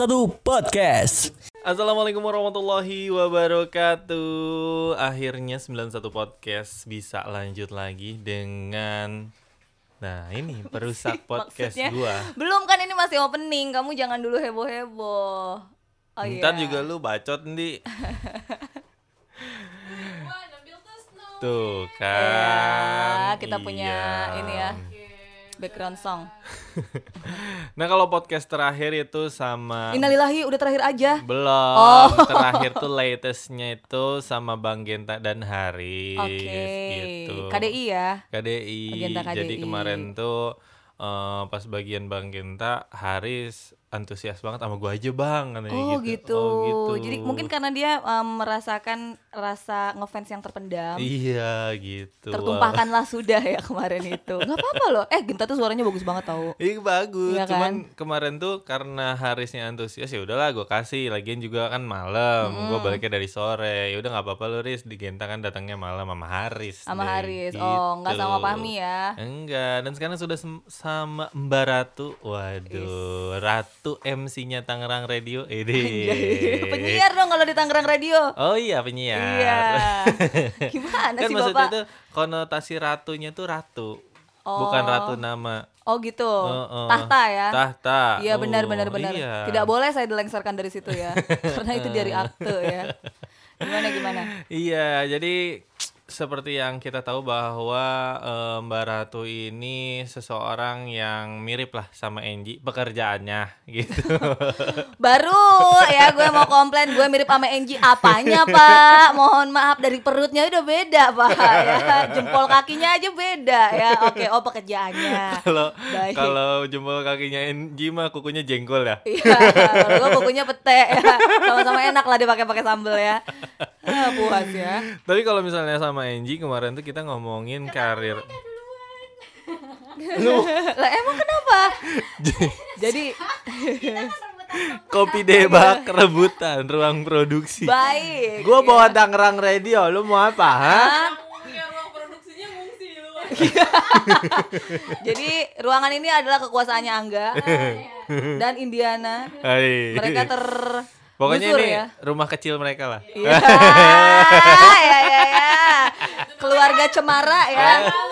Podcast. Assalamualaikum warahmatullahi wabarakatuh. Akhirnya 91 podcast bisa lanjut lagi dengan Nah, ini perusak podcast Maksudnya, gua. Belum kan ini masih opening, kamu jangan dulu heboh-heboh. Oh iya. Ntar juga lu bacot nanti. Tuh Ya, kan. Iya, kita punya Iya. ini ya. Background song. Nah, kalau podcast terakhir itu sama Innalillahi udah terakhir aja. belum. Oh. Terakhir tuh latestnya itu sama Bang Genta dan Haris Oke. gitu. KDI ya. KDI. Agenda Jadi KDI. kemarin tuh eh, pas bagian Bang Genta, Haris antusias banget sama gua aja Bang katanya Oh gitu. Oh, gitu. Jadi mungkin karena dia em, merasakan rasa ngefans yang terpendam. Iya gitu. Tertumpahkanlah sudah ya kemarin itu. Nggak apa-apa loh. Eh Genta tuh suaranya bagus banget tau. Iya bagus, Iya cuman kemarin tuh karena Harisnya antusias ya udahlah gue kasih. Lagian juga kan malam, gua baliknya dari sore. Ya udah nggak apa-apa lu Ris, di Genta kan datangnya malam sama Haris. Sama deh, Haris. Oh nggak sama Iya, gitu. Pahmi ya. Enggak, dan sekarang sudah sem- sama Mbak Ratu. Waduh, Ratu MC-nya Tangerang Radio. Ede. Penyiar dong kalau di Tangerang Radio. Oh iya, penyiar. Iya. Gimana kan sih maksudnya Bapak? tuh konotasi ratunya tuh ratu. Oh. Bukan ratu nama. Oh gitu. Heeh. Tahta ya. Tahta. Iya Oh, benar benar benar. iya. Eh. Tidak boleh saya dilengsarkan dari situ ya. Karena itu dari akte ya. Gimana gimana? Iya, jadi seperti yang kita tahu bahwa eh, Mbak Ratu ini seseorang yang mirip lah sama Angie pekerjaannya gitu. Baru ya gue mau komplain gue mirip sama Angie apanya Pak? Mohon maaf dari perutnya udah beda Pak ya. Jempol kakinya aja beda ya. Oke, oh pekerjaannya. Kalau Baik. kalau jempol kakinya Angie mah kukunya jengkol ya. Iya, kalau gue bukunya pete ya. Sama-sama enak lah dipakai-pakai sambel ya. Ah, puas ya. Tapi kalau misalnya sama Angie kemarin tuh kita ngomongin karir. lah emang kenapa? Jadi Kopi debak rebutan ruang produksi. baik. iya. Gua bawa Tangerang Radio, lu mau apa? Ha? Jadi ruangan ini adalah kekuasaannya Angga dan Indiana. Hai. Ah, Mereka ter Pokoknya gusur ini ya. rumah kecil mereka lah. Iya, ya, ya, ya. Keluarga cemara ya.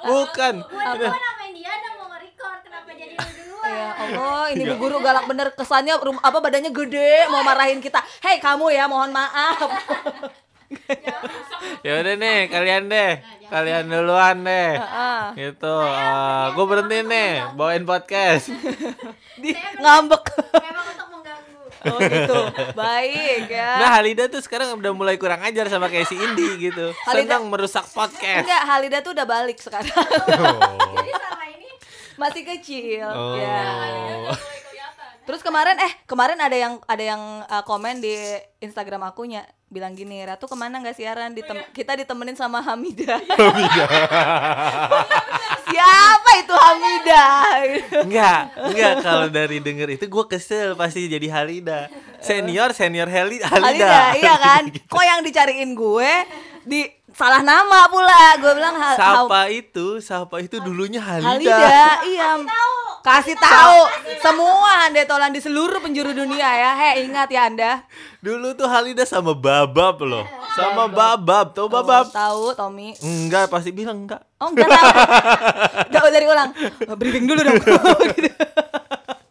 Ah. Bukan. Gue namain dia ada mau nge-record kenapa jadi lu duluan? Ya Allah, ini Iya. bu guru galak bener kesannya rum- apa badannya gede mau marahin kita. Hei kamu ya, mohon maaf. Ya udah nih, kalian deh. Kalian duluan deh. Ah, Gitu. gue berhenti nih, bawain podcast. Di, ngambek. Memang untuk mengganggu. Oh gitu. Baik ya. Nah, Halida tuh sekarang udah mulai kurang ajar sama kayak si Indi gitu. Halida- Senang merusak podcast. Enggak, Halida tuh udah balik sekarang. Jadi selama ini Masih kecil. Oh. Ya. Terus kemarin eh kemarin ada yang ada yang uh, komen di Instagram akunya bilang gini Ratu kemana nggak siaran Ditem- kita ditemenin sama Hamida. Siapa itu Hamida? Enggak, enggak kalau dari denger itu gue kesel pasti jadi Halida. Senior, senior Heli, Halida. Hamida, iya kan? Kok yang dicariin gue di salah nama pula. Gue bilang Hal- Sapa itu, Sapa itu dulunya Hal- Halida. Halida, iya. Kasih tahu semua Anda tolan di seluruh penjuru dunia ya. Hei, ingat ya Anda. Dulu tuh Halida sama Babab loh. Sama Babab, tau Babab? Tahu Tommy? Enggak, pasti bilang enggak. Oh enggak tahu. Enggak dari ulang. Briefing dulu dong. Gitu.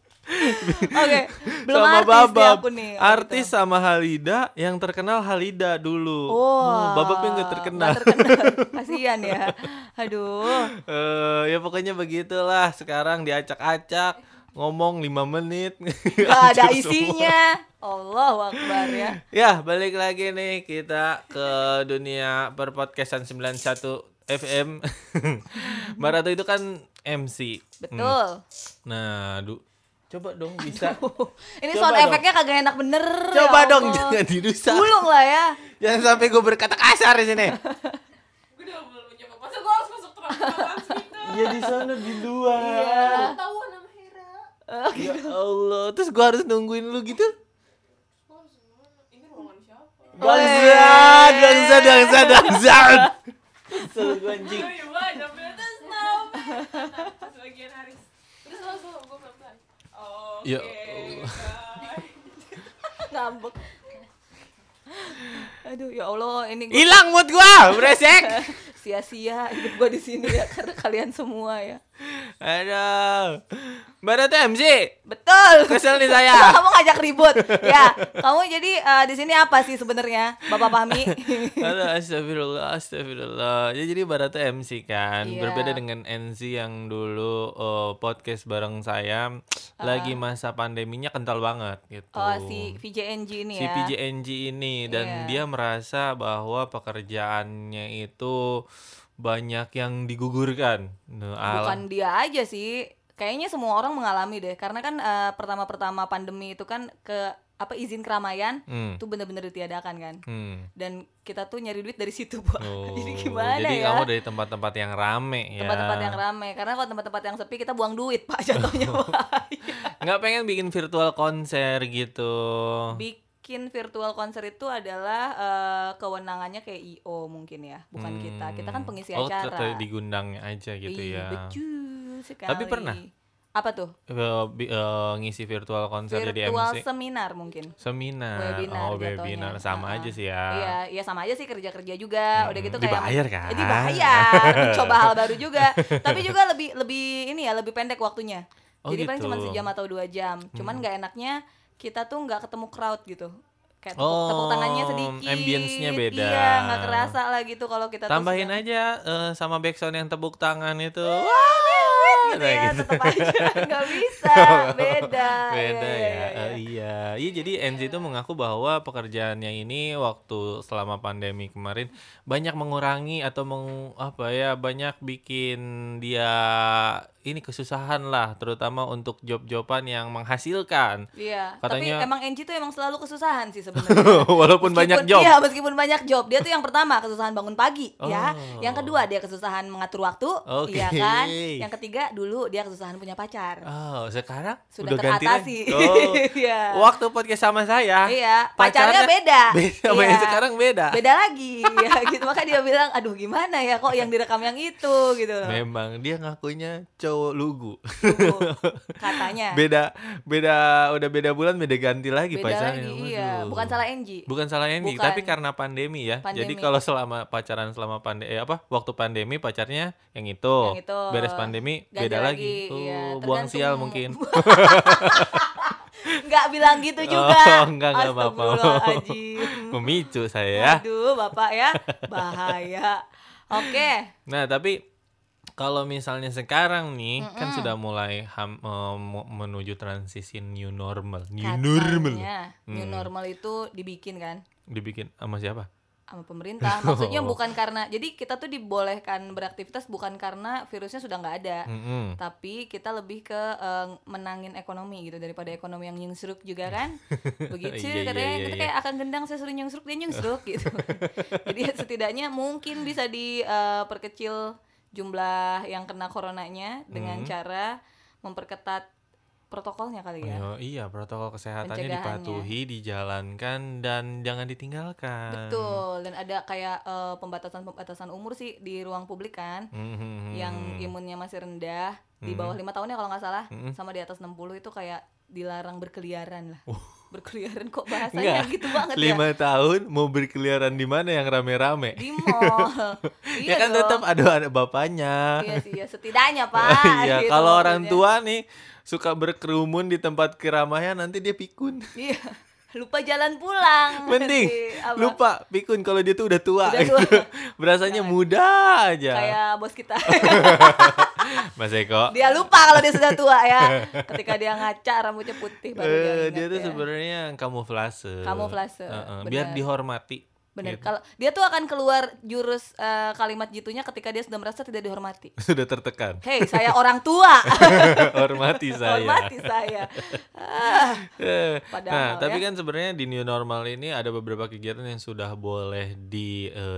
Oke, belum sama artis nih Babab. aku nih. Oh, Artis gitu. sama Halida yang terkenal Halida dulu. Wah, Hmm, Bababnya enggak terkenal. Oh. nggak terkenal. Kasihan ya. Aduh. Eh, ya pokoknya begitulah. Sekarang diacak-acak, ngomong 5 menit. Gak ada Hancur semua. isinya. Allah Akbar ya. Ya, balik lagi nih kita ke dunia perpodcastan 91 FM. Mbak Ratu itu kan MC. Betul. Nah, du- coba dong bisa. Ini Coba sound dong. efeknya kagak enak bener. coba ya dong Allah. jangan dirusak. Gulung lah ya. Jangan sampai gue berkata kasar di sini. gue udah belum nyoba masa gue harus masuk transparansi gitu Ya di sana di luar. Iya. tahu nama Hera Ya Allah, terus gue harus nungguin lu gitu. ini ruangan siapa gitu. Bangsat, bangsat, bangsat, bangsat. Kesel gue anjing. gue ibu ada terus now terus bagian Haris terus langsung gue pelan pelan oke Ya bye. ngambek. Aduh ya Allah ini gua- Hilang mood gua, beresek. sia-sia hidup gua di sini ya karena kalian semua ya. Aduh. Mbak Ratu MC. Betul. Kesel nih saya. kamu ngajak ribut. Ya, kamu jadi eh, di sini apa sih sebenarnya, Bapak Pahmi? Aduh, astagfirullah, astagfirullah. Ya jadi Mbak Ratu MC kan, Iya. berbeda dengan NC yang dulu eh, podcast bareng saya lagi masa pandeminya kental banget gitu. oh, Iya. si VJNG ini si ya. PJNG ini dan dia merasa bahwa pekerjaannya itu banyak yang digugurkan. Nah, al- Bukan dia aja sih. Kayaknya semua orang mengalami deh karena kan eh, pertama-pertama pandemi itu kan ke apa izin keramaian Hmm, itu bener-bener ditiadakan kan. hmm. Dan kita tuh nyari duit dari situ, Pak. jadi Oh, gimana jadi ya? kamu dari tempat-tempat yang rame ya. tempat-tempat yang ramai karena kalau tempat-tempat yang sepi kita buang duit pak jatuhnya pak nggak pengen bikin virtual konser gitu. bikin virtual konser itu adalah eh, kewenangannya kayak IO mengkin ya, bukan Hmm. kita. Kita kan pengisi oh, acara. Iya, tetep digundangnya aja gitu Ih, ya. Betul sekali. Tapi pernah? Apa tuh? Eh, bi- eh, ngisi virtual konser jadi Virtual MC. seminar mungkin. Seminar. Webinar oh, jatuhnya. webinar sama Ah, aja sih ya. Iya, iya sama aja sih kerja-kerja juga. Udah Hmm, gitu kayak dibayar kan? Eh, dibayar, mencoba hal baru juga. Tapi juga lebih lebih ini ya, lebih pendek waktunya. Oh, Jadi paling gitu. Hmm. cuma sejam atau dua jam. Cuman nggak enaknya kita tuh nggak ketemu crowd gitu. Kayak tepuk, Oh, tepuk tangannya sedikit. ambience-nya beda. Iya, nggak kerasa lah gitu kalau kita tuh Tambahin sedang- aja eh, sama backsound yang tepuk tangan itu. Wah, Kayak gitu ya, gitu. tetap aja nggak bisa, beda. beda ya. Iya, iya, iya, Eh, iya. Iya. Iya, jadi NC itu mengaku bahwa pekerjaannya ini waktu selama pandemi kemarin banyak mengurangi atau meng, apa ya, banyak bikin dia ini kesusahan lah, terutama untuk job-joban yang menghasilkan. Iya, Katanya- tapi emang Angie tuh emang selalu kesusahan sih sebenarnya. Walaupun banyak job. Iya, meskipun banyak job. Dia tuh yang pertama kesusahan bangun pagi, ya. Oh. Yang kedua dia kesusahan mengatur waktu, Oke. iya kan? Yang ketiga dulu dia kesusahan punya pacar. Oh, sekarang Sudah udah ganti lagi. teratasi. Oh. Iya. Waktu podcast sama saya. Iya, pacarnya beda. Beda sama yang Iya. sekarang beda. Beda lagi, ya gitu. Maka dia bilang, aduh gimana ya kok yang direkam yang itu gitu. loh. Memang dia ngakunya cowok lugu. Tuh, Katanya. beda beda udah beda bulan beda ganti lagi Iya. Beda pacarnya. lagi, iya. Waduh. Bukan salah Angie. Bukan salah Andy, Bukan. tapi karena pandemi ya. Jadi Pandemi. kalau selama pacaran selama pandemi apa waktu pandemi pacarnya yang itu. Yang itu. Beres pandemi Ganti beda lagi. lagi, iya. Oh, buang Tergantung- sial mungkin. Nggak bilang gitu juga. Oh, enggak enggak apa-apa. Astagfirullahaladzim. Memicu saya ya. Aduh, Bapak ya. Bahaya. Oke. Nah, tapi kalau misalnya sekarang nih kan sudah mulai ham- eh, mu- menuju transisi new normal. New normal. Katanya, New Hmm. normal itu dibikin kan Dibikin sama siapa? sama pemerintah. Maksudnya Oh. bukan karena jadi kita tuh dibolehkan beraktivitas bukan karena virusnya sudah nggak ada. Mm-mm. Tapi kita lebih ke eh, menangin ekonomi gitu daripada ekonomi yang nyungsruk juga kan. Begitu Iya, iya, katanya iya, kita iya. kayak akan gendang saya suruh nyungsruk dia nyungsruk gitu. Jadi ya setidaknya mungkin bisa diperkecil jumlah yang kena coronanya dengan Hmm. cara memperketat protokolnya kali ya. Yo, iya, protokol kesehatannya Pencegahannya. dipatuhi, dijalankan dan jangan ditinggalkan. Betul, dan ada kayak eh, pembatasan-pembatasan umur sih di ruang publik kan Mhm. yang imunnya masih rendah di Mhm. bawah lima tahun ya kalau nggak salah Mhm. sama di atas 60 itu kayak dilarang berkeliaran lah. Berkeliaran kok bahasanya gitu banget Oh. ya. Lima tahun mau berkeliaran di mana yang rame-rame? Di mall. Iya ya kan dong. tetap ada ada bapaknya. Iya sih, ya setidaknya Pak. iya, gitu kalau orang maksudnya. tua nih suka berkerumun di tempat keramaian nanti dia pikun. Iya. Lupa jalan pulang. Mending Si, apa, lupa pikun kalau dia tuh udah tua. Udah tua. Berasanya muda aja. Kayak bos kita. Mas Eko. dia lupa kalau dia sudah tua ya. Ketika dia ngaca rambutnya putih baru dia, eh, ingat dia tuh ya. sebenarnya kamuflase. Kamuflase, Heeh, biar benar. dihormati. Bener. gitu. Kalau dia tuh akan keluar jurus eh, kalimat jitunya ketika dia sudah merasa tidak dihormati. Sudah tertekan. Hei, saya orang tua. Hormati saya. Hormati saya. Ah, Eh, nah, Padahal tapi ya. kan sebenarnya di new normal ini ada beberapa kegiatan yang sudah boleh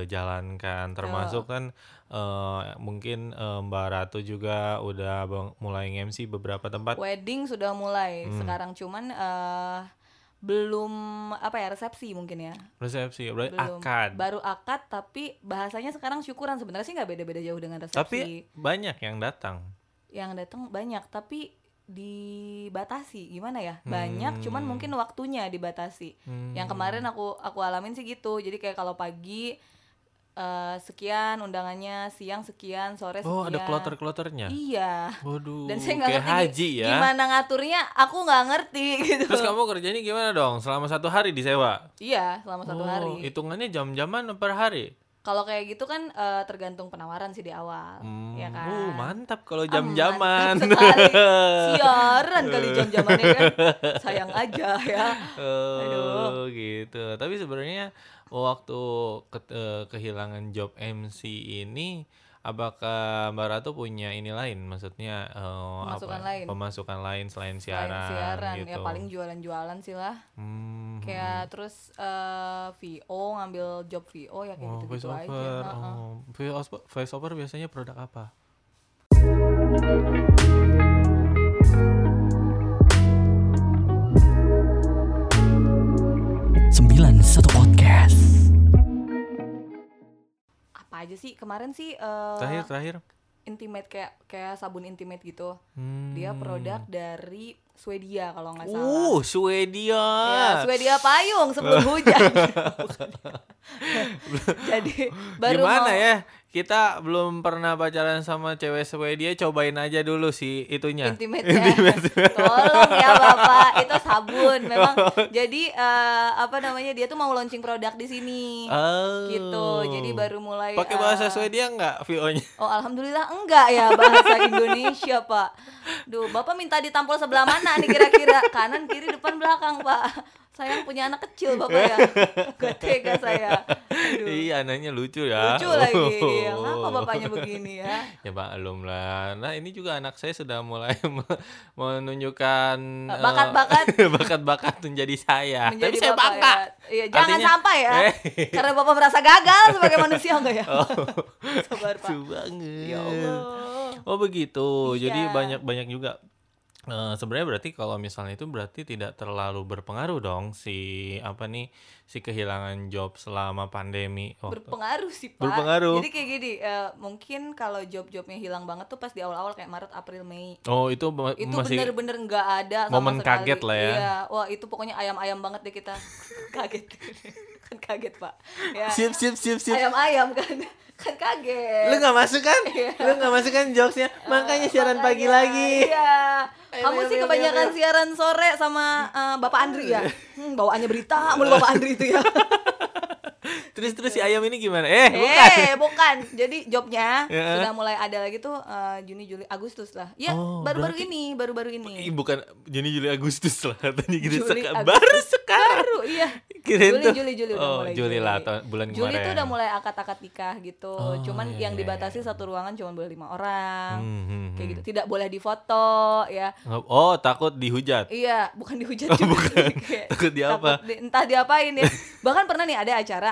dijalankan, termasuk kan eh, mungkin eh, Mbak Ratu juga udah bang- mulai MC beberapa tempat. wedding sudah mulai. Hmm. Sekarang cuman eh, belum apa ya resepsi mungkin ya. Resepsi, berarti Belum. Eh, akad. Baru akad tapi bahasanya sekarang syukuran sebenarnya sih nggak beda-beda jauh dengan resepsi. Tapi banyak yang datang. Yang datang banyak tapi dibatasi gimana ya banyak cuman Hmm. mungkin waktunya dibatasi Hmm. yang kemarin aku aku alamin sih gitu jadi kayak kalau pagi eh, sekian undangannya siang sekian sore sekian Oh, ada kloter-kloternya. iya Waduh. dan saya nggak kayak ngerti haji gi- ya. gimana ngaturnya aku nggak ngerti gitu Terus kamu kerjanya gimana dong? Selama satu hari disewa? iya selama Oh, satu hari Hitungannya jam-jaman per hari? kalau kayak gitu kan eh, tergantung penawaran sih di awal Hmm. ya kan Uh, mantap kalau Ah, jam-jaman. mantap sekali. siaran kali jam-jamannya kan sayang aja ya Oh gitu. Tapi sebenarnya waktu ke- eh, kehilangan job MC ini apakah Mbak Ratu punya ini lain maksudnya eh, Pemasukan apa? lain. Pemasukan lain selain Selain siaran, siaran gitu. ya paling jualan-jualan sih lah Hmm. kayak terus eh, VO ngambil job VO ya kayak Oh, gitu voice gitu aja over. Heeh. Oh, voice over- voice over biasanya produk apa? satu Podcast apa aja sih kemarin sih eh, Terakhir, terakhir. intimate kayak kayak sabun intimate gitu Hmm. dia produk dari Swedia kalau nggak salah Uh, Swedia. Ya, Swedia payung sebelum hujan. Jadi baru Gimana mau- ya? Kita belum pernah pacaran sama cewek Swedia, cobain aja dulu si itunya. intimate ya. Tolong ya Bapak, itu sabun memang. Jadi eh, apa namanya? Dia tuh mau launching produk di sini. Oh. Gitu. Jadi baru mulai Pakai bahasa eh, Swedia nggak VO-nya? Oh, alhamdulillah enggak ya bahasa Indonesia, Pak. Duh, Bapak minta ditampol sebelah mana nih kira-kira? Kanan, kiri, depan, belakang, Pak. Sayang punya anak kecil, Bapak ya. Gak tega saya. Aduh. Iya, anaknya lucu ya. Lucu lagi. Iya, Kenapa bapaknya begini ya? Ya Pak, belum lah. Nah, ini juga anak saya sudah mulai me- menunjukkan Eh, eh, bakat-bakat. bakat-bakat menjadi saya. Nah, Tapi menjadi saya bapak bangga. ya. Iya, jangan Artinya- sampai ya. Eh. Karena bapak merasa gagal sebagai manusia enggak ya? Oh. Sabar pak. Lucu banget. Ya Allah. Oh begitu. Jadi Iya. banyak-banyak juga. Eh, sebenarnya berarti kalau misalnya itu berarti tidak terlalu berpengaruh dong si apa nih si kehilangan job selama pandemi. Wah, Berpengaruh sih pak. Berpengaruh. Jadi kayak gini, eh, mungkin kalau job-jobnya hilang banget tuh pas di awal-awal kayak Maret, April, Mei. Oh itu, ma- Itu masih bener-bener nggak ada sama momen sekali. kaget lah ya. Iya. Wah itu pokoknya ayam-ayam banget deh kita. kaget. kan kaget pak. Ya. sip sip sip sip. Ayam-ayam kan. Lu Kan kaget. nggak masuk kan? Iya. Lu nggak masuk kan jokesnya? Makanya siaran pagi Makanya, lagi. Iya. Ayo, Kamu ayo, sih ayo, kebanyakan ayo, ayo. siaran sore sama eh, Bapak Andri ya. Hmm, bawaannya berita mulu Bapak Andri itu ya. Terus terus si ayam ini gimana? Eh bukan. Eh, bukan. Jadi jobnya Ya. sudah mulai ada lagi tuh eh, Juni, Juli, Agustus lah. Ya, Oh, baru-baru berarti- ini, baru-baru ini. Ih, bukan Juni Juli Agustus lah katanya gitu. Seka- Juli, Eh. Agustus. baru sekarang. Baru, iya. Kirain Juli, tuh- Juli, Juli udah oh, mulai. Juli lah, tahun- bulan Juli kemarin. tuh udah mulai akad-akad nikah gitu. Oh, cuman iya, yang iya, dibatasi satu ruangan cuma boleh lima orang. Hmm, hmm, Kayak hmm. gitu. Tidak boleh difoto ya. Nggak- Oh takut dihujat. Iya, bukan dihujat Oh, juga bukan. sih, kayak Takut di apa? di- entah diapain ya. Bahkan pernah nih ada acara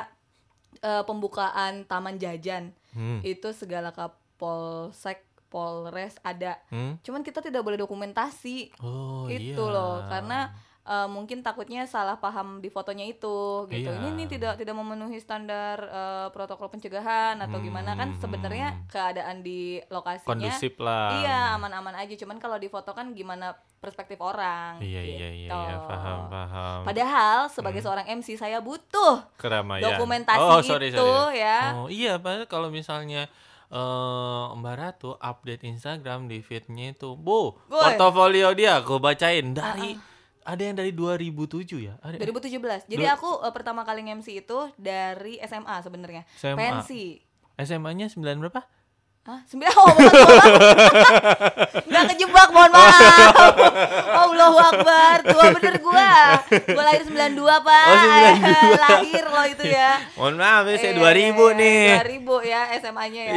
eh, pembukaan Taman Jajan. Hmm. Itu segala kapolsek, polres ada. Hmm? Cuman kita tidak boleh dokumentasi. Oh itu iya. Gitu loh, karena eh, mungkin takutnya salah paham di fotonya itu gitu. Iya. Ini nih tidak tidak memenuhi standar eh, protokol pencegahan atau gimana kan Hmm. sebenarnya keadaan di lokasinya kondusif ah. lah. Iya aman-aman aja, cuman kalau di foto kan gimana perspektif orang. Iya iya iya, gitu. iya. paham paham. Padahal sebagai seorang MC saya butuh keramaian. dokumentasi oh, sorry, itu sorry. ya. Oh iya, padahal kalau misalnya eh Mbak Ratu update Instagram di feednya itu, bu, Woi. portofolio dia gue bacain dari ada yang dari 2007 ya, ada 2017. Jadi Duh. aku eh, pertama kali MC itu dari SMA sebenarnya. SMA. Pensi. SMA-nya 9 berapa? Hah? Sembilan? Oh, bukan salah. Nggak kejebak, mohon maaf. Allahu Akbar, tua bener gua. Gua lahir 92, Pak. Oh, 92. lahir loh itu ya. Mohon maaf, ya, saya Iya, 2000 nih. Iya. 2000 ya SMA-nya ya.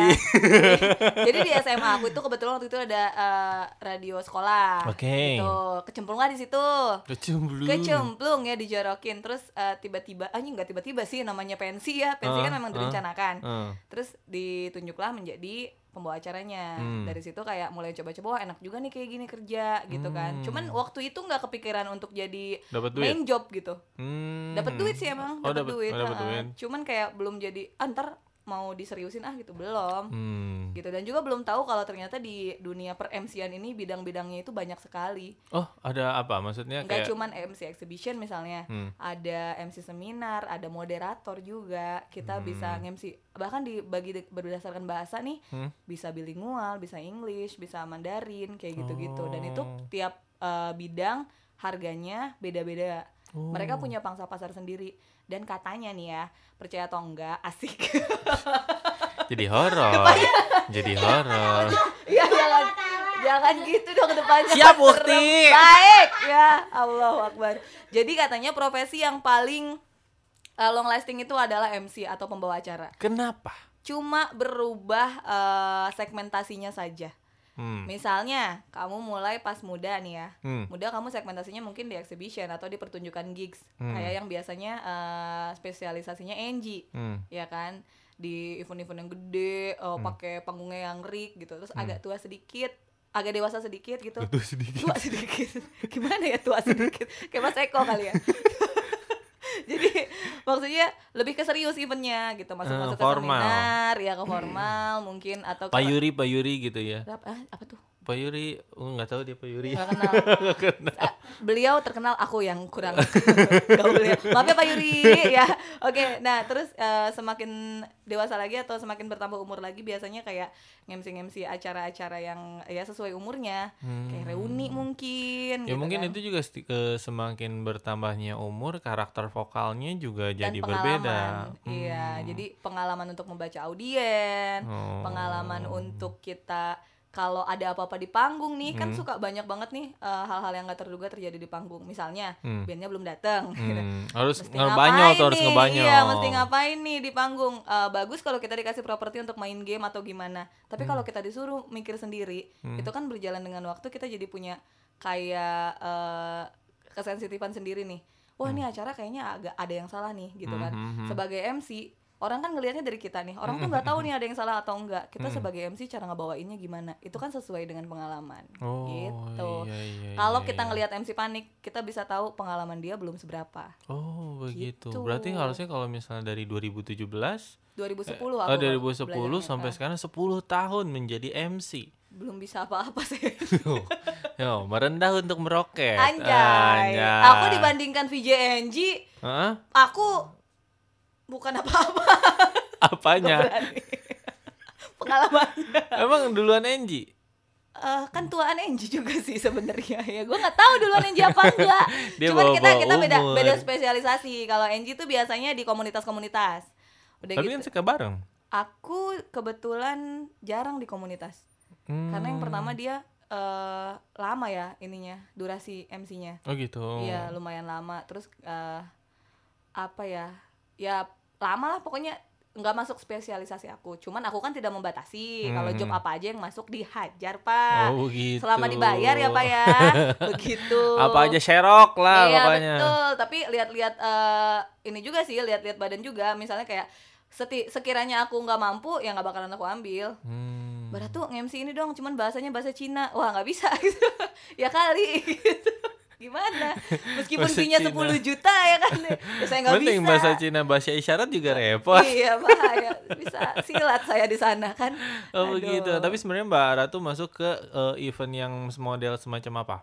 Jadi di SMA aku itu kebetulan waktu itu ada eh, radio sekolah. Oke. Gitu. Kecemplung lah di situ. Kecemplung. Kecemplung ya dijorokin terus eh, tiba-tiba ah ini nggak tiba-tiba sih namanya pensi ya. Pensi kan Ah, memang ah, direncanakan. Eh. Terus ditunjuklah menjadi pembawa acaranya. Hmm. Dari situ kayak mulai coba-coba wah enak juga nih kayak gini kerja gitu Hmm. kan. Cuman waktu itu nggak kepikiran untuk jadi Dapat duit. main job gitu. Hmm. Dapat duit sih emang, Oh, dapat duit. Ah. Oh, dapat heeh. duit. Cuman kayak belum jadi antar mau diseriusin ah gitu belum Hmm. gitu dan juga belum tahu kalau ternyata di dunia per MC-an ini bidang-bidangnya itu banyak sekali Oh, ada apa? Maksudnya nggak Nah, kayak cuman MC exhibition misalnya Hmm. ada MC seminar ada moderator juga kita bisa MC bahkan dibagi de- berdasarkan bahasa nih Hmm. bisa bilingual bisa English bisa Mandarin kayak gitu-gitu dan itu Oh. tiap eh, bidang harganya beda-beda Oh. mereka punya pangsa pasar sendiri dan katanya nih ya percaya atau enggak asik jadi horor. jadi horor. ya jangan jangan gitu dong ke depannya Siap, Serem. Ukti. baik ya Allah Akbar jadi katanya profesi yang paling eh, long lasting itu adalah MC atau pembawa acara Kenapa? cuma berubah eh, segmentasinya saja Hmm. misalnya kamu mulai pas muda nih ya Hmm. muda kamu segmentasinya mungkin di exhibition atau di pertunjukan gigs Hmm. kayak yang biasanya eh, spesialisasinya NG Hmm. ya kan di event-event yang gede eh, pakai panggungnya yang rig gitu terus agak tua sedikit agak dewasa sedikit gitu Itu sedikit. tua sedikit gimana ya tua sedikit kayak mas Eko kali ya jadi maksudnya lebih ke serius eventnya gitu masuk masuk Eh, ke formal. seminar ya ke formal mungkin atau ke Payuri, payuri gitu ya. Rap- ah, apa tuh Payuri, oh, nggak tahu dia payuri. Gak kenal. Ah, Beliau terkenal aku yang kurang gaul ya. Maaf ya Pak Yuri ya. Oke, nah terus eh, semakin dewasa lagi atau semakin bertambah umur lagi biasanya kayak ngemsi-ngemsi acara-acara yang ya sesuai umurnya. Kayak reuni mungkin. Hmm. Ya gitu mungkin kan. itu juga sti- ke- semakin bertambahnya umur karakter vokalnya juga Dan jadi berbeda. pengalaman. Iya, Hmm. jadi pengalaman untuk membaca audien, Oh. pengalaman untuk kita kalau ada apa-apa di panggung nih Hmm. kan suka banyak banget nih eh, hal-hal yang gak terduga terjadi di panggung. Misalnya Hmm. bandnya belum datang. gitu. Hmm, harus Mesti ngebanyol ngapain tuh harus nih? ngebanyol. Iya, mesti ngapain nih di panggung? Eh, bagus kalau kita dikasih properti untuk main game atau gimana. Tapi Hmm. kalau kita disuruh mikir sendiri, itu kan berjalan dengan waktu kita jadi punya kayak eh, kesensitifan sendiri nih. Wah, ini acara kayaknya agak ada yang salah nih gitu kan. Hmm, hmm, hmm. Sebagai MC, orang kan ngelihatnya dari kita nih. Orang tuh nggak tahu nih ada yang salah atau enggak. Kita Hmm. sebagai MC cara ngebawainnya gimana? Itu kan sesuai dengan pengalaman. Oh, gitu. iya, iya, Kalau iya, kita iya. ngelihat MC panik, kita bisa tahu pengalaman dia belum seberapa. Oh, begitu. Gitu. Berarti harusnya kalau misalnya dari 2017 2010 eh, aku dari baru 2010 belajarnya. sampai Ah, sekarang 10 tahun menjadi MC. belum bisa apa-apa sih. Tuh. Yo, merendah untuk meroket. Anjay. Anjay. Aku dibandingkan VJNG, Hah? aku bukan apa-apa. Apanya? Nggak berani. Pengalamannya Emang duluan Enji? Eh, kan tuaan Enji juga sih sebenarnya ya gue nggak tahu duluan Enji apa enggak Dia cuman kita bawa-bawa kita beda umur. beda spesialisasi kalau Enji tuh biasanya di komunitas-komunitas udah Tapi gitu kan suka bareng. aku kebetulan jarang di komunitas karena yang Hmm. pertama dia eh, lama ya ininya durasi MC-nya Oh gitu. Iya lumayan lama terus eh, apa ya ya lama lah pokoknya nggak masuk spesialisasi aku cuman aku kan tidak membatasi kalau job Hmm. apa aja yang masuk dihajar pak Oh gitu. selama dibayar ya pak ya begitu Apa aja serok lah iya pokoknya. betul tapi lihat-lihat eh, ini juga sih lihat-lihat badan juga misalnya kayak seti- sekiranya aku nggak mampu ya nggak bakalan aku ambil Hmm. Barat tuh MC ini dong, cuman bahasanya bahasa Cina. Wah, nggak bisa gitu. ya kali gitu. Gimana? Meskipun Bahasa fee-nya Cina. 10 juta ya kan. Ya saya nggak Penting bisa. bahasa Cina, bahasa isyarat juga repot. Iya, bahaya. Bisa silat saya di sana kan. Oh Aduh. begitu. Tapi sebenarnya Mbak Ara tuh masuk ke eh, event yang model semacam apa?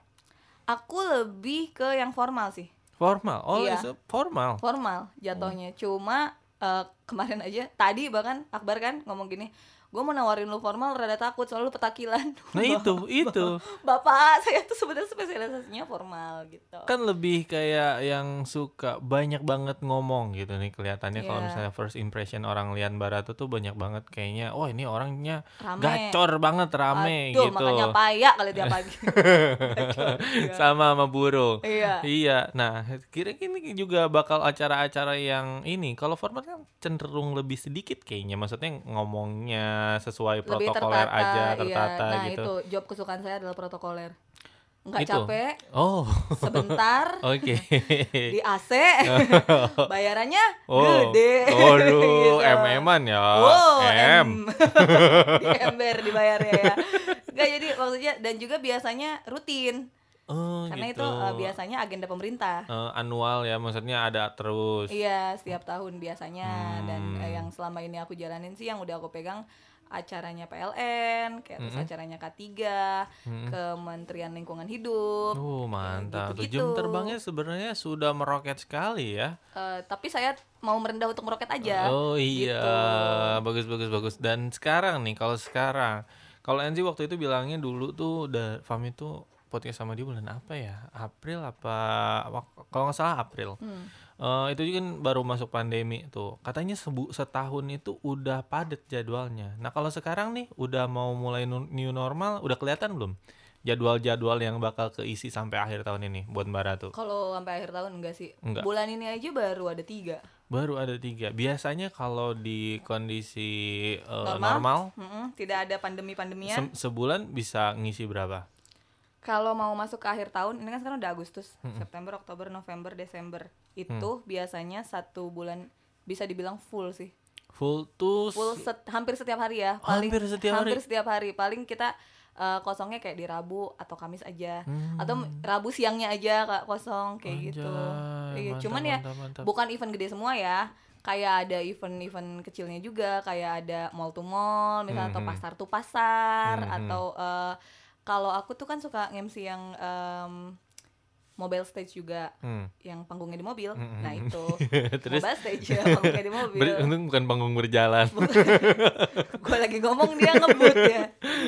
aku lebih ke yang formal sih. Formal. Oh, Iya. itu formal. Formal Oh. jatuhnya. Cuma eh, kemarin aja tadi bahkan Akbar kan ngomong gini, "Gue mau nawarin lu formal rada takut soal lu petakilan." Nah, itu, itu. Bapak, saya tuh sebenarnya spesialisasinya formal gitu. Kan lebih kayak yang suka banyak banget ngomong gitu nih kelihatannya kalau Iya. misalnya first impression orang lihat Mbak Ara tuh tuh banyak banget kayaknya, wah ini orangnya Rame. gacor banget rame Aduh, gitu. makanya payah kali tiap pagi. sama sama burung. Iya. Iya. Nah, kira-kira ini juga bakal acara-acara yang ini kalau format kan cenderung lebih sedikit kayaknya. Maksudnya ngomongnya sesuai Lebih protokoler tertata, aja, iya. tertata Nah, gitu. itu job kesukaan saya adalah protokoler. Nggak Itu. capek, Oh. sebentar, Oke. di AC, bayarannya Oh. gede. Waduh, Gitu. MM-an ya. Wow, M. M. di ember dibayarnya ya. Nggak, jadi maksudnya dan juga biasanya rutin. Oh, Karena gitu. itu eh, biasanya agenda pemerintah. Eh, annual ya, maksudnya ada terus. Iya, setiap tahun biasanya dan Hmm. eh, yang selama ini aku jalanin sih yang udah aku pegang acaranya PLN, kayak Hmm. terus acaranya K3, Mm-mm. Kementerian Lingkungan Hidup. Oh mantap tuh gitu-gitu. jam terbangnya sebenarnya sudah meroket sekali ya. Eh, tapi saya mau merendah untuk meroket aja. oh iya ya, gitu. bagus bagus bagus. Dan sekarang nih kalau sekarang kalau Enzi waktu itu bilangnya dulu tuh udah Fami tuh podcast sama dia bulan apa ya? April apa? wak- Kalau nggak salah April. Hmm. Eh, itu juga kan baru masuk pandemi tuh. Katanya sebu setahun itu udah padat jadwalnya. Nah kalau sekarang nih udah mau mulai nu- new normal, udah kelihatan belum jadwal-jadwal yang bakal keisi sampai akhir tahun ini buat Mbak Ratu? Gitu. Kalau sampai akhir tahun enggak sih? Enggak. Bulan ini aja baru ada tiga. Baru ada tiga. Biasanya kalau di kondisi uh, Normal? normal, Mm-mm, tidak ada pandemi-pandemian. se- sebulan bisa ngisi berapa? Kalau mau masuk ke akhir tahun, ini kan sekarang udah Agustus, September, Oktober, November, Desember. Mm. Itu biasanya satu bulan bisa dibilang full sih. Full tuh Full se- set- hampir setiap hari ya, paling Hampir setiap hari? hampir setiap hari. Paling kita eh, kosongnya kayak di Rabu atau Kamis aja. Atau Rabu siangnya aja Kak kosong kayak gitu. Hmm. Anjay, Iya, mantap, cuman ya mantap, mantap. bukan event gede semua ya. Kayak ada event-event kecilnya juga, kayak ada mall to mall, misalnya atau Mhm. pasar to pasar Mhm. atau eh, kalau aku tuh kan suka MC yang em, mobile stage juga Hmm. yang panggungnya di mobil. Mhm. Nah, itu. Terus? mobile stage ya, panggungnya di mobil. Ber- untung bukan panggung berjalan. Gue lagi ngomong dia ngebut ya.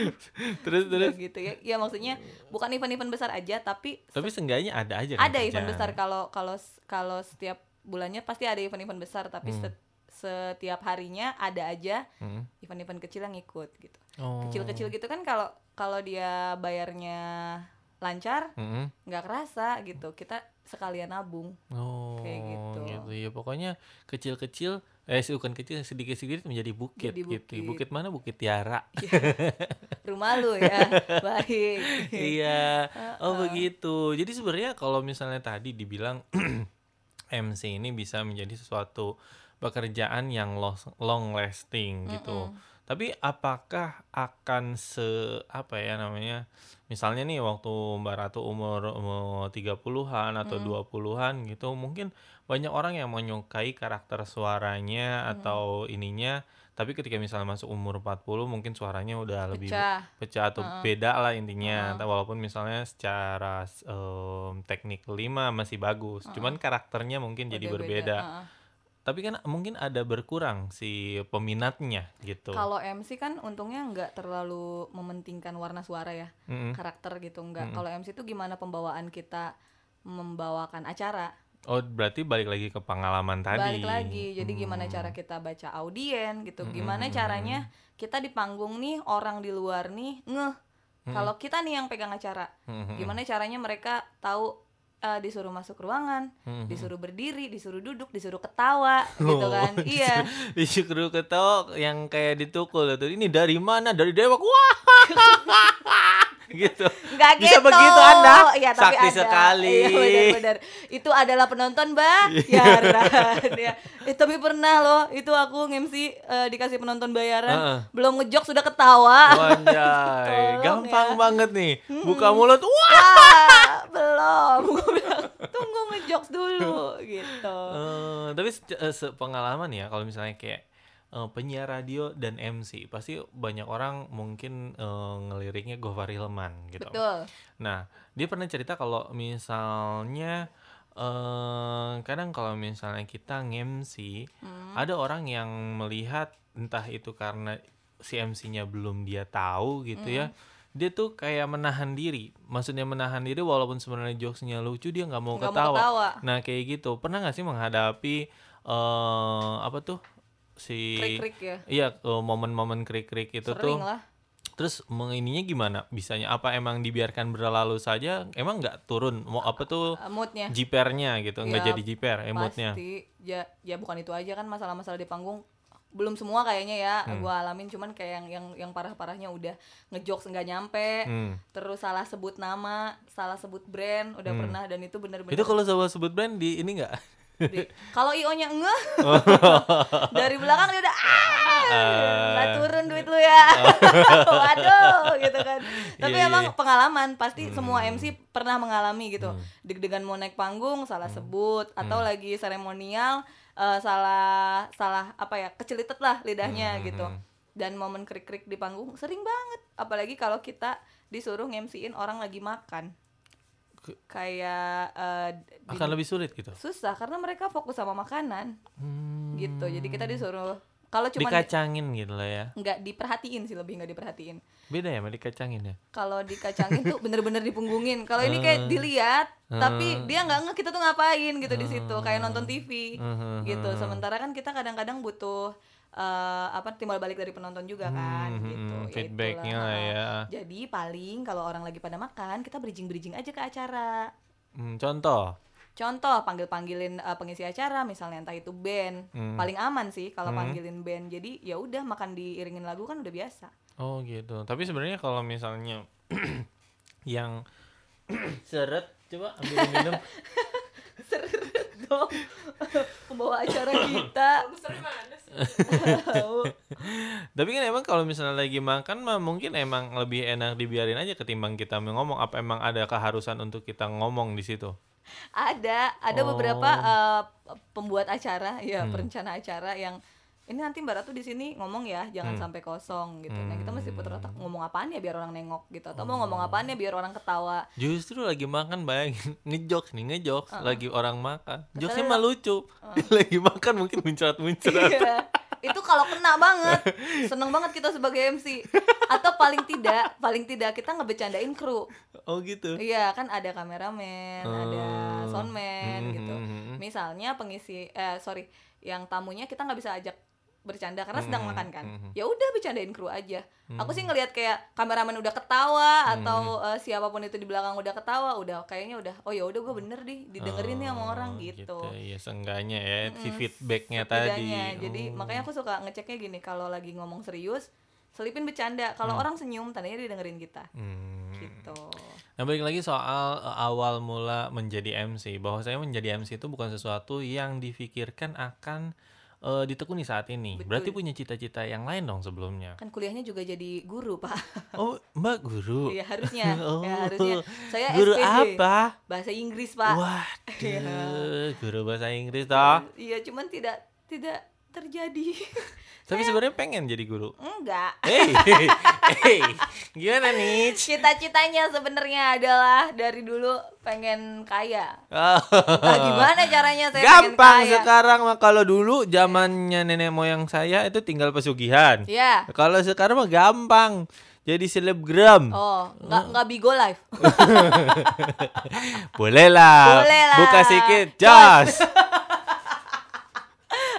terus terus. gitu ya. Ya maksudnya bukan event-event besar aja tapi Tapi seenggaknya ada aja. kan ada event kerjaan. besar kalau kalau kalau setiap bulannya pasti ada event-event besar tapi set- setiap harinya ada aja Hmm. event-event kecil yang ikut gitu. Oh. Kecil-kecil gitu kan kalau kalau dia bayarnya lancar Mm-mm. nggak kerasa gitu. Kita sekalian nabung. Oh, Kayak gitu. Ya pokoknya kecil-kecil eh bukan kecil sedikit-sedikit menjadi bukit, Jadi gitu. bukit. Bukit mana? Bukit Tiara. Rumah lu ya. Baik. iya. Oh begitu. Jadi sebenarnya kalau misalnya tadi dibilang MC ini bisa menjadi sesuatu pekerjaan yang los- long lasting gitu. Tapi apakah akan se apa ya namanya? Misalnya nih waktu Mbak Ratu umur, umur 30-an atau 20-an gitu, mungkin banyak orang yang menyukai karakter suaranya atau ininya, tapi ketika misalnya masuk umur 40 mungkin suaranya udah lebih Pecah. pecah atau beda lah intinya Ta- walaupun misalnya secara em, teknik lima masih bagus cuman karakternya mungkin jadi Udah berbeda Heeh. tapi kan mungkin ada berkurang si peminatnya gitu Kalau MC kan untungnya nggak terlalu mementingkan warna suara ya, Mm-mm. karakter gitu Hmm. nggak. Kalau MC itu gimana pembawaan kita membawakan acara? oh berarti balik lagi ke pengalaman tadi Hmm. Balik lagi, jadi gimana cara kita baca audien gitu? Gimana hmm, caranya kita di panggung nih orang di luar nih ngeh Hmm. kalau kita nih yang pegang acara, Mhm. gimana caranya mereka tahu eh, disuruh masuk ruangan, Mhm. disuruh berdiri, disuruh duduk, disuruh ketawa gitu kan? Oh, iya. disuruh ketawa yang kayak ditukul itu ini dari mana dari dewak wah gitu Nggak Bisa gitu. begitu Anda? Iya, tapi Sakti ada. sekali. Iya. Iya, benar-benar. Itu adalah penonton, Mbak. ya, Ran, ya. Eh, tapi pernah loh, itu aku ngemsi dikasih penonton bayaran, Heeh. belum ngejok sudah ketawa. Wanjay, Tolong gampang ya. Hmm. banget nih buka mulut wah Ah, belum. Gua bilang, tunggu ngejok dulu gitu. Eh, tapi se- eh, sepengalaman ya kalau misalnya kayak eh, penyiar radio dan MC pasti banyak orang mungkin eh, ngeliriknya Gofar Hilman gitu. Betul. Nah, dia pernah cerita kalau misalnya eh kadang kalau misalnya kita nge-MC, Hmm. ada orang yang melihat entah itu karena si MC-nya belum dia tahu gitu ya. Hmm. Dia tuh kayak menahan diri. Maksudnya menahan diri walaupun sebenarnya jokesnya lucu dia nggak mau, Nggak ketawa. mau ketawa. Nah, kayak gitu. Pernah nggak sih menghadapi eh apa tuh si Krik-krik ya. Iya, eh, momen-momen krik-krik itu tuh. Sering lah. Terus mengininya gimana? Bisanya apa emang dibiarkan berlalu saja? Emang nggak turun? Mau apa tuh eh, Moodnya. jipernya gitu? Nggak Ya, jadi jiper emotnya? Pasti. Ya, ya bukan itu aja kan masalah-masalah di panggung belum semua kayaknya ya gua alamin cuman kayak yang yang yang parah-parahnya udah ngejokes nggak nyampe Hmm. terus salah sebut nama salah sebut brand udah pernah dan itu benar-benar Itu kalau sama sebut brand di ini nggak? Di- Kalau IO-nya ngeh dari belakang dia udah ah lah turun duit lu ya. Waduh gitu kan. Tapi Iya, iya, emang iya. Hmm. pengalaman pasti semua MC pernah mengalami gitu. Deg-degan mau naik panggung salah sebut atau lagi seremonial eh, salah salah apa ya kecelitet lah lidahnya Hmm, gitu. hmm, Dan momen krik-krik di panggung sering banget apalagi kalau kita disuruh ngemsiin orang lagi makan. Ke- Kayak eh, di- akan lebih sulit gitu susah karena mereka fokus sama makanan Hmm, gitu jadi kita disuruh kalau cuma dikacangin gitu lah ya nggak diperhatiin sih lebih nggak diperhatiin beda ya sama dikacangin ya kalau dikacangin tuh bener-bener dipunggungin kalau ini Eh. kayak dilihat tapi dia nggak nggak kita tuh ngapain gitu di situ Eh. kayak nonton TV Hmm, gitu sementara kan kita kadang-kadang butuh eh, apa timbal balik dari penonton juga kan Hmm, gitu hmm, Ya feedbacknya itulah. lah ya jadi paling kalau orang lagi pada makan kita bridging-bridging aja ke acara Hmm, contoh Contoh panggil-panggilin eh, pengisi acara misalnya entah itu band. Hmm. Paling aman sih kalau Hmm. panggilin band. Jadi ya udah makan diiringin lagu kan udah biasa. oh gitu tapi sebenarnya kalau misalnya yang seret coba ambil minum Seret dong. Pembawa acara kita. Produser mana sih? Tahu. Tapi kan emang kalau misalnya lagi makan mah mungkin emang lebih enak dibiarin aja ketimbang kita ngomong apa emang ada keharusan untuk kita ngomong di situ. ada ada Oh. Hmm. beberapa eh, pembuat acara ya perencana acara yang ini nanti Mbak Ratu di sini ngomong ya, jangan Hmm. sampai kosong gitu. Nah, kita Hmm. Oh. mesti putar otak ngomong apaan ya biar orang nengok gitu atau mau ngomong apaan ya biar orang ketawa. Justru lagi makan bayangin ngejok nih ngejok lagi orang makan. Kesannya Jokesnya mah lucu. lagi makan mungkin muncrat-muncrat. Iya. Itu kalau kena banget. Seneng banget kita sebagai MC. Atau paling tidak, paling tidak kita ngebecandain kru. oh gitu. Iya, kan ada kameramen, ada Oh. soundman Hmm, gitu. hmm, hmm. Misalnya pengisi eh sorry, yang tamunya kita nggak bisa ajak bercanda karena sedang Hmm, makan kan. hmm. Ya udah bercandain kru aja. Aku sih ngelihat kayak kameramen udah ketawa Hmm, atau eh, siapapun itu di belakang udah ketawa, udah kayaknya udah oh ya udah gue bener deh didengerin nih sama orang Oh, gitu. Iya, seenggaknya ya si Mm-mm, feedbacknya tadi. Setidaknya. Jadi Oh. makanya aku suka ngeceknya gini kalau lagi ngomong serius, selipin bercanda. Kalau orang senyum tandanya dia dengerin kita. Hmm. Gitu. Nah balik lagi soal eh, awal mula menjadi MC bahwa saya menjadi MC itu bukan sesuatu yang difikirkan akan eh, ditekuni saat ini Betul. Berarti punya cita-cita yang lain dong sebelumnya Kan kuliahnya juga jadi guru, Pak. Oh mbak guru Iya, harusnya. Oh. Ya, harusnya. Saya Guru SPD. apa? Bahasa Inggris, Pak. Waduh guru bahasa Inggris toh Iya, cuman tidak tidak terjadi. Tapi sebenarnya pengen jadi guru Enggak. Hey, hey, gimana nih? Cita-citanya sebenarnya adalah dari dulu pengen kaya. Oh. Entah gimana caranya saya pengen Gampang kaya. sekarang mah kalau dulu zamannya nenek moyang saya itu tinggal pesugihan. Iya. Kalau sekarang mah gampang. Jadi selebgram. Oh, Eh. nggak nggak bigo live. Boleh lah. Boleh lah. Buka sedikit. Jos.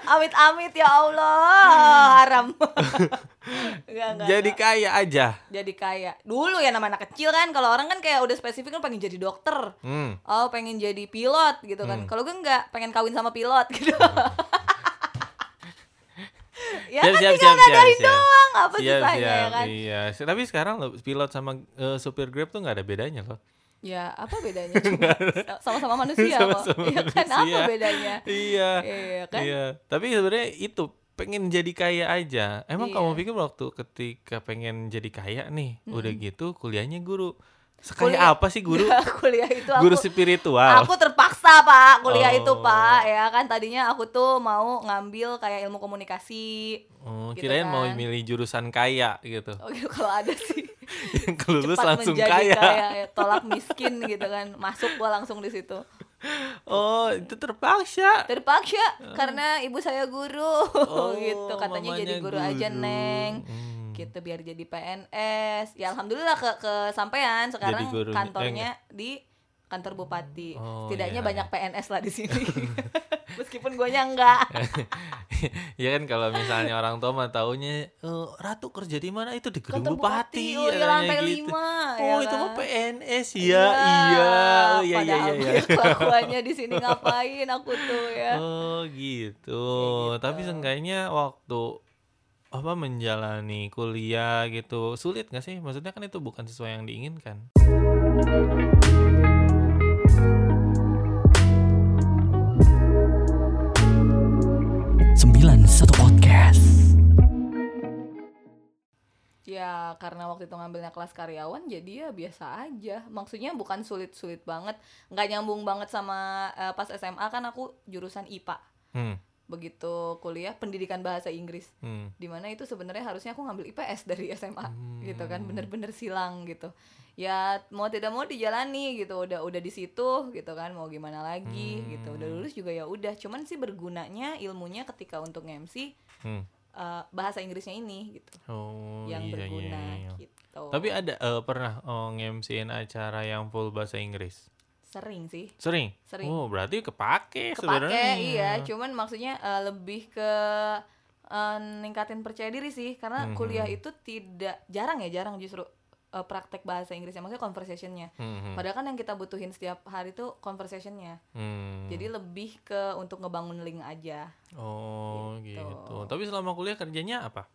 Amit-amit ya Allah, haram. Enggak, enggak, Jadi enggak. kaya aja. jadi kaya. Dulu ya nama anak kecil kan, kalau orang kan kayak udah spesifik kan pengen jadi dokter. Hmm. Oh, pengen jadi pilot gitu kan. Kalau gue enggak, pengen kawin sama pilot gitu. ya Hmm. Siap, kan siap, tinggal siap, siap, ngadain siap. doang, apa Siap, susahnya ya siap. kan? Iya. Se- Tapi sekarang lo, pilot sama eh, supir Grab tuh nggak ada bedanya loh. Ya, apa bedanya? Sama-sama manusia kok. Sama-sama Ya kan apa manusia. bedanya? Iya. Iya kan? Iya. Tapi sebenarnya itu pengen jadi kaya aja. Emang Iya. Hmm. kamu pikir waktu ketika pengen jadi kaya nih, udah gitu kuliahnya guru. Sekaya Kuliah- apa sih guru? kuliah itu aku guru spiritual. Aku terpaksa pak kuliah Oh. itu pak ya kan tadinya aku tuh mau ngambil kayak ilmu komunikasi oh, gitu kirain mau kan. milih jurusan kaya gitu. oh gitu kalau ada sih Yang kelulus cepat langsung menjadi kaya. ya, tolak miskin gitu kan masuk gua langsung di situ Oh, itu terpaksa. terpaksa karena ibu saya guru Ah. Oh, gitu katanya jadi mamanya guru, aja guru. neng Hmm. gitu biar jadi PNS ya alhamdulillah ke kesampaian sekarang Jadi gurunya, eh, kantornya di kantor bupati Oh, setidaknya iya. banyak PNS lah di sini meskipun guanya enggak ya kan kalau misalnya orang tua mah taunya "Eh, ratu kerja di mana itu di Kantor gedung bupati, oh, iya, katanya lantai gitu. lima, ya Oh, itu mah kan? PNS ya. Iya, iya iya iya. iya. Kelakuannya di sini ngapain aku tuh ya. Oh gitu. Tapi seenggaknya waktu apa menjalani kuliah gitu sulit gak sih? Maksudnya kan itu bukan sesuai yang diinginkan. 91 Podcast Ya karena waktu itu ngambilnya kelas karyawan jadi ya biasa aja Maksudnya bukan sulit-sulit banget Nggak nyambung banget sama eh, pas SMA kan aku jurusan IPA Hmm, Begitu kuliah pendidikan bahasa Inggris hmm. Dimana itu sebenarnya harusnya aku ngambil IPS dari SMA gitu Hmm. kan Bener-bener silang gitu Ya mau tidak mau dijalani gitu Udah udah di situ gitu kan mau gimana lagi gitu Udah Hmm. lulus juga ya udah Cuman sih bergunanya ilmunya ketika untuk MC Hmm. eh, Bahasa Inggrisnya ini gitu Oh, yang iya, iya, berguna iya. gitu. Tapi ada eh, pernah oh, nge-MC-in acara yang full bahasa Inggris? sering sih. Sering? Sering. Oh, berarti kepake, Kepake sebenarnya. iya, cuman maksudnya eh, lebih ke eh, ningkatin percaya diri sih karena Mhm. kuliah itu tidak jarang ya, jarang justru eh, praktek bahasa Inggrisnya maksudnya conversationnya. Hmm, hmm, Padahal kan yang kita butuhin setiap hari itu conversationnya. hmm. Jadi lebih ke untuk ngebangun link aja. Oh, Gitu. gitu. Tapi selama kuliah kerjanya apa?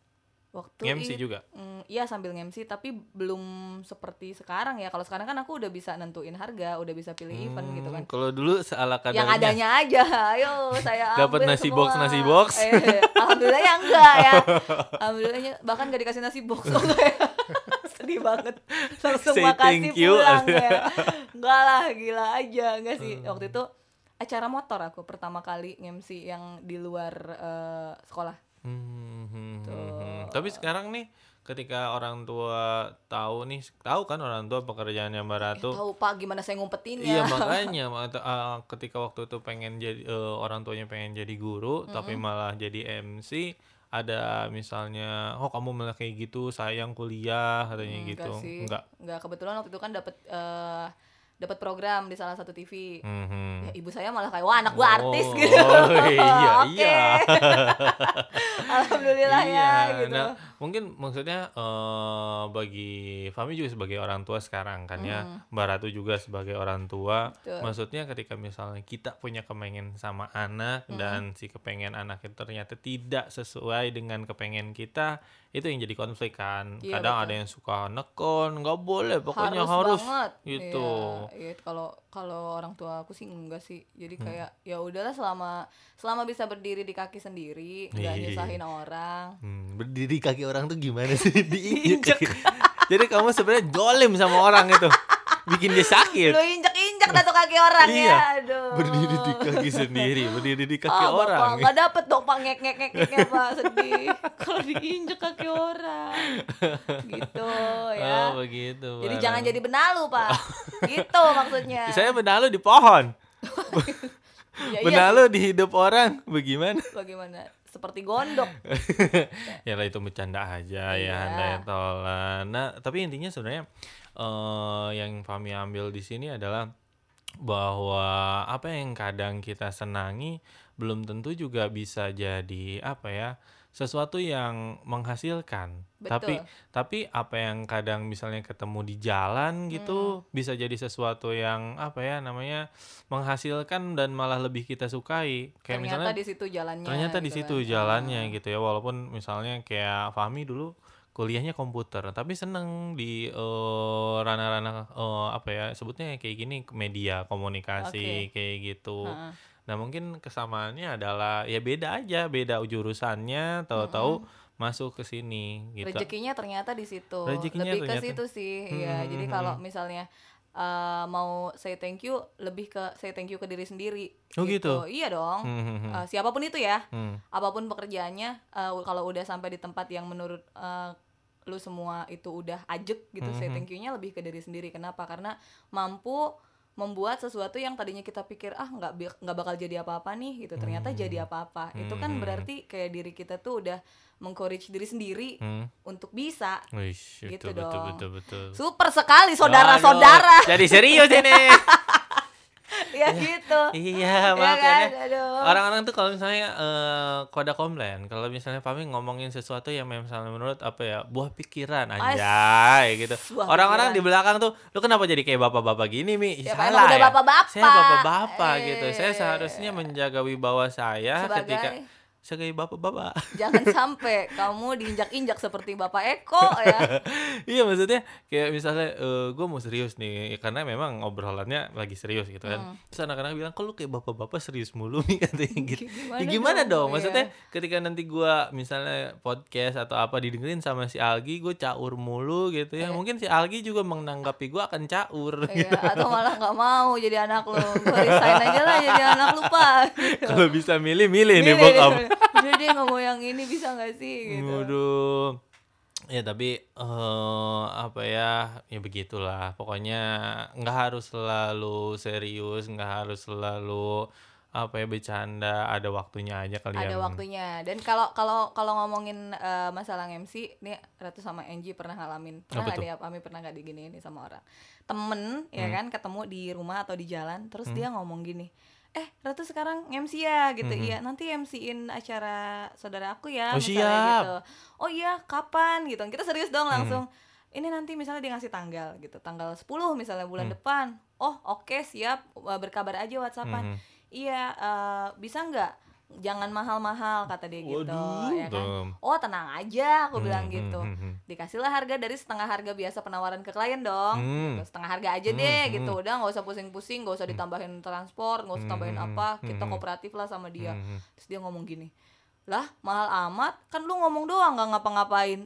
Waktu Nge-MC i- juga? Mm, iya sambil ngemsi tapi belum seperti sekarang ya. Kalau sekarang kan aku udah bisa nentuin harga, udah bisa pilih event gitu kan. Hmm, Kalau dulu seala kadarnya. yang adanya aja ayo saya Dapat ambil nasi semua. box, nasi box. Eh, alhamdulillah ya enggak ya alhamdulillahnya bahkan gak dikasih nasi box soalnya. sedih banget langsung Say makasih thank you. pulang ya enggak lah gila aja enggak sih Hmm. waktu itu acara motor aku pertama kali ngemsi yang di luar eh, sekolah Hmm, hmm, hmm, hmm. Tapi sekarang nih ketika orang tua tahu nih, tahu kan orang tua pekerjaannya Mbak Eh, Ratu. tahu pak gimana saya ya? ngumpetinnya Iya makanya mak- eh, ketika waktu itu pengen jadi eh, orang tuanya pengen jadi guru tapi malah jadi MC ada misalnya oh kamu malah kayak gitu sayang kuliah katanya Hmm, gitu sih. enggak enggak kebetulan waktu itu kan dapat eh, dapat program di salah satu TV Mhm. ya, ibu saya malah kayak wah anak gua artis Oh, gitu iya, Oke. iya. alhamdulillah ya gitu nah, mungkin maksudnya eh, bagi Fami juga sebagai orang tua sekarang kan ya Mbak Ratu juga sebagai orang tua Hmm. Betul. maksudnya ketika misalnya kita punya kepengen sama anak Hmm. dan si kepengen anak itu ternyata tidak sesuai dengan kepengen kita itu yang jadi konflik kan Iya, kadang betul. ada yang suka nekon nggak boleh pokoknya harus, banget gitu Iya, iya, kalau kalau orang tua aku sih enggak sih Hmm. jadi kayak ya udahlah selama selama bisa berdiri di kaki sendiri nggak Iya. nyusahin orang Hmm, berdiri kaki orang tuh gimana sih diinjek jadi kamu sebenarnya jolim sama orang itu bikin dia sakit lu injek injek dah tuh kaki orang Iya, ya aduh berdiri di kaki sendiri, berdiri di kaki Ah, orang. Bapak, nggak dapet dong pak ngek ngek ngek ngek pak sedih kalau diinjek kaki orang gitu Oh, ya begitu. jadi Mbak jangan Rano. jadi benalu pak gitu maksudnya Saya benalu di pohon. Ya, iya benalu di hidup orang. Bagaimana? sih. bagaimana seperti gondok ya lah itu bercanda aja Iya. ya Anda ya tolan. Nah, tapi intinya sebenarnya eh yang kami ambil di sini adalah bahwa apa yang kadang kita senangi belum tentu juga bisa jadi apa ya sesuatu yang menghasilkan. Betul. Tapi tapi apa yang kadang misalnya ketemu di jalan Hmm. gitu bisa jadi sesuatu yang apa ya namanya menghasilkan dan malah lebih kita sukai. Kayak misalnya ternyata di situ jalannya ternyata di gitu situ kan. jalannya gitu ya walaupun misalnya kayak Fahmi dulu kuliahnya komputer tapi seneng di eh, ranah-ranah eh, apa ya sebutnya kayak gini media komunikasi kayak gitu Heeh. nah mungkin kesamaannya adalah ya beda aja beda jurusannya tahu-tahu masuk ke sini gitu rezekinya ternyata di situ Rezekinya lebih ternyata. ke situ sih Hmm, ya hmm, jadi hmm, kalau misalnya eh, mau say thank you lebih ke say thank you ke diri sendiri Oh, gitu? iya dong Hmm, hmm, hmm. Eh, siapapun itu ya Hmm. apapun pekerjaannya eh, kalau udah sampai di tempat yang menurut eh, lu semua itu udah ajek gitu say thank you-nya lebih ke diri sendiri kenapa karena mampu membuat sesuatu yang tadinya kita pikir ah nggak bi- nggak bakal jadi apa-apa nih gitu ternyata jadi apa-apa itu Hmm. kan berarti kayak diri kita tuh udah mengcourage diri sendiri Hmm. untuk bisa Wish, itu Gitu betul, dong. betul betul super sekali saudara-saudara Aduh, jadi serius ini ya gitu iya ya maaf ya, kan Nek. aduh orang-orang tuh kalau misalnya eh kode komplain kalau misalnya Fami ngomongin sesuatu yang misalnya menurut apa ya buah pikiran anjay gitu buah orang-orang di pikiran. belakang tuh lu kenapa jadi kayak bapak-bapak gini mi Ya, salah emang udah bapak-bapak. saya bapak-bapak gitu saya Eh. seharusnya menjaga wibawa saya Sebagai- ketika sebagai bapak-bapak. Jangan sampai kamu diinjak-injak seperti Bapak Eko ya. iya maksudnya kayak misalnya gue mau serius nih ya karena memang obrolannya lagi serius gitu Hmm. kan terus anak-anak bilang kok lu kayak bapak-bapak serius mulu nih katanya gitu Gimana Ya, gimana dong, dong? Iya. maksudnya ketika nanti gue misalnya podcast atau apa didengerin sama si Algi gue caur mulu gitu ya mungkin si Algi juga menanggapi gue akan caur Iya, atau malah nggak mau jadi anak lu. Gue resign aja lah jadi anak lu, Pak. Gitu. kalau bisa milih-milih nih Milih, bokap Udah deh nggak mau yang ini bisa nggak sih gitu. Waduh. Ya tapi eh apa ya ya begitulah pokoknya nggak harus selalu serius nggak harus selalu apa ya bercanda ada waktunya aja kali Ada yang- waktunya. Dan kalau kalau kalau ngomongin eh, masalah MC, nih Ratu sama Angie pernah ngalamin. Apa Pernah nggak tuh? Hmm. dia kami pernah nggak diginiin nih sama orang. Temen ya kan ketemu di rumah atau di jalan, terus dia ngomong gini. Eh, Ratu sekarang MC ya gitu. Iya, nanti MC-in acara saudara aku ya Hmm. Oh, misalnya siap. Hmm. gitu. Oh iya, kapan gitu. Kita serius dong langsung. Ini nanti misalnya dia ngasih tanggal gitu. Tanggal 10 misalnya Hmm. bulan depan. Oh, oke, siap. Wah, Berkabar aja Mhm. WhatsAppan. Iya, eh, bisa nggak? Jangan mahal-mahal kata dia gitu Waduh, ya kan? dong. Oh, tenang aja aku bilang Hmm, gitu. hmm, hmm, hmm. Dikasihlah harga dari setengah harga biasa penawaran ke klien dong. Hmm. Gitu, setengah harga aja Hmm, deh hmm. gitu. Udah nggak usah pusing-pusing, nggak usah ditambahin transport, nggak usah tambahin Hmm, apa. Kita hmm. kooperatif lah sama dia. Hmm. Terus dia ngomong gini, lah mahal amat kan lu ngomong doang nggak ngapa-ngapain.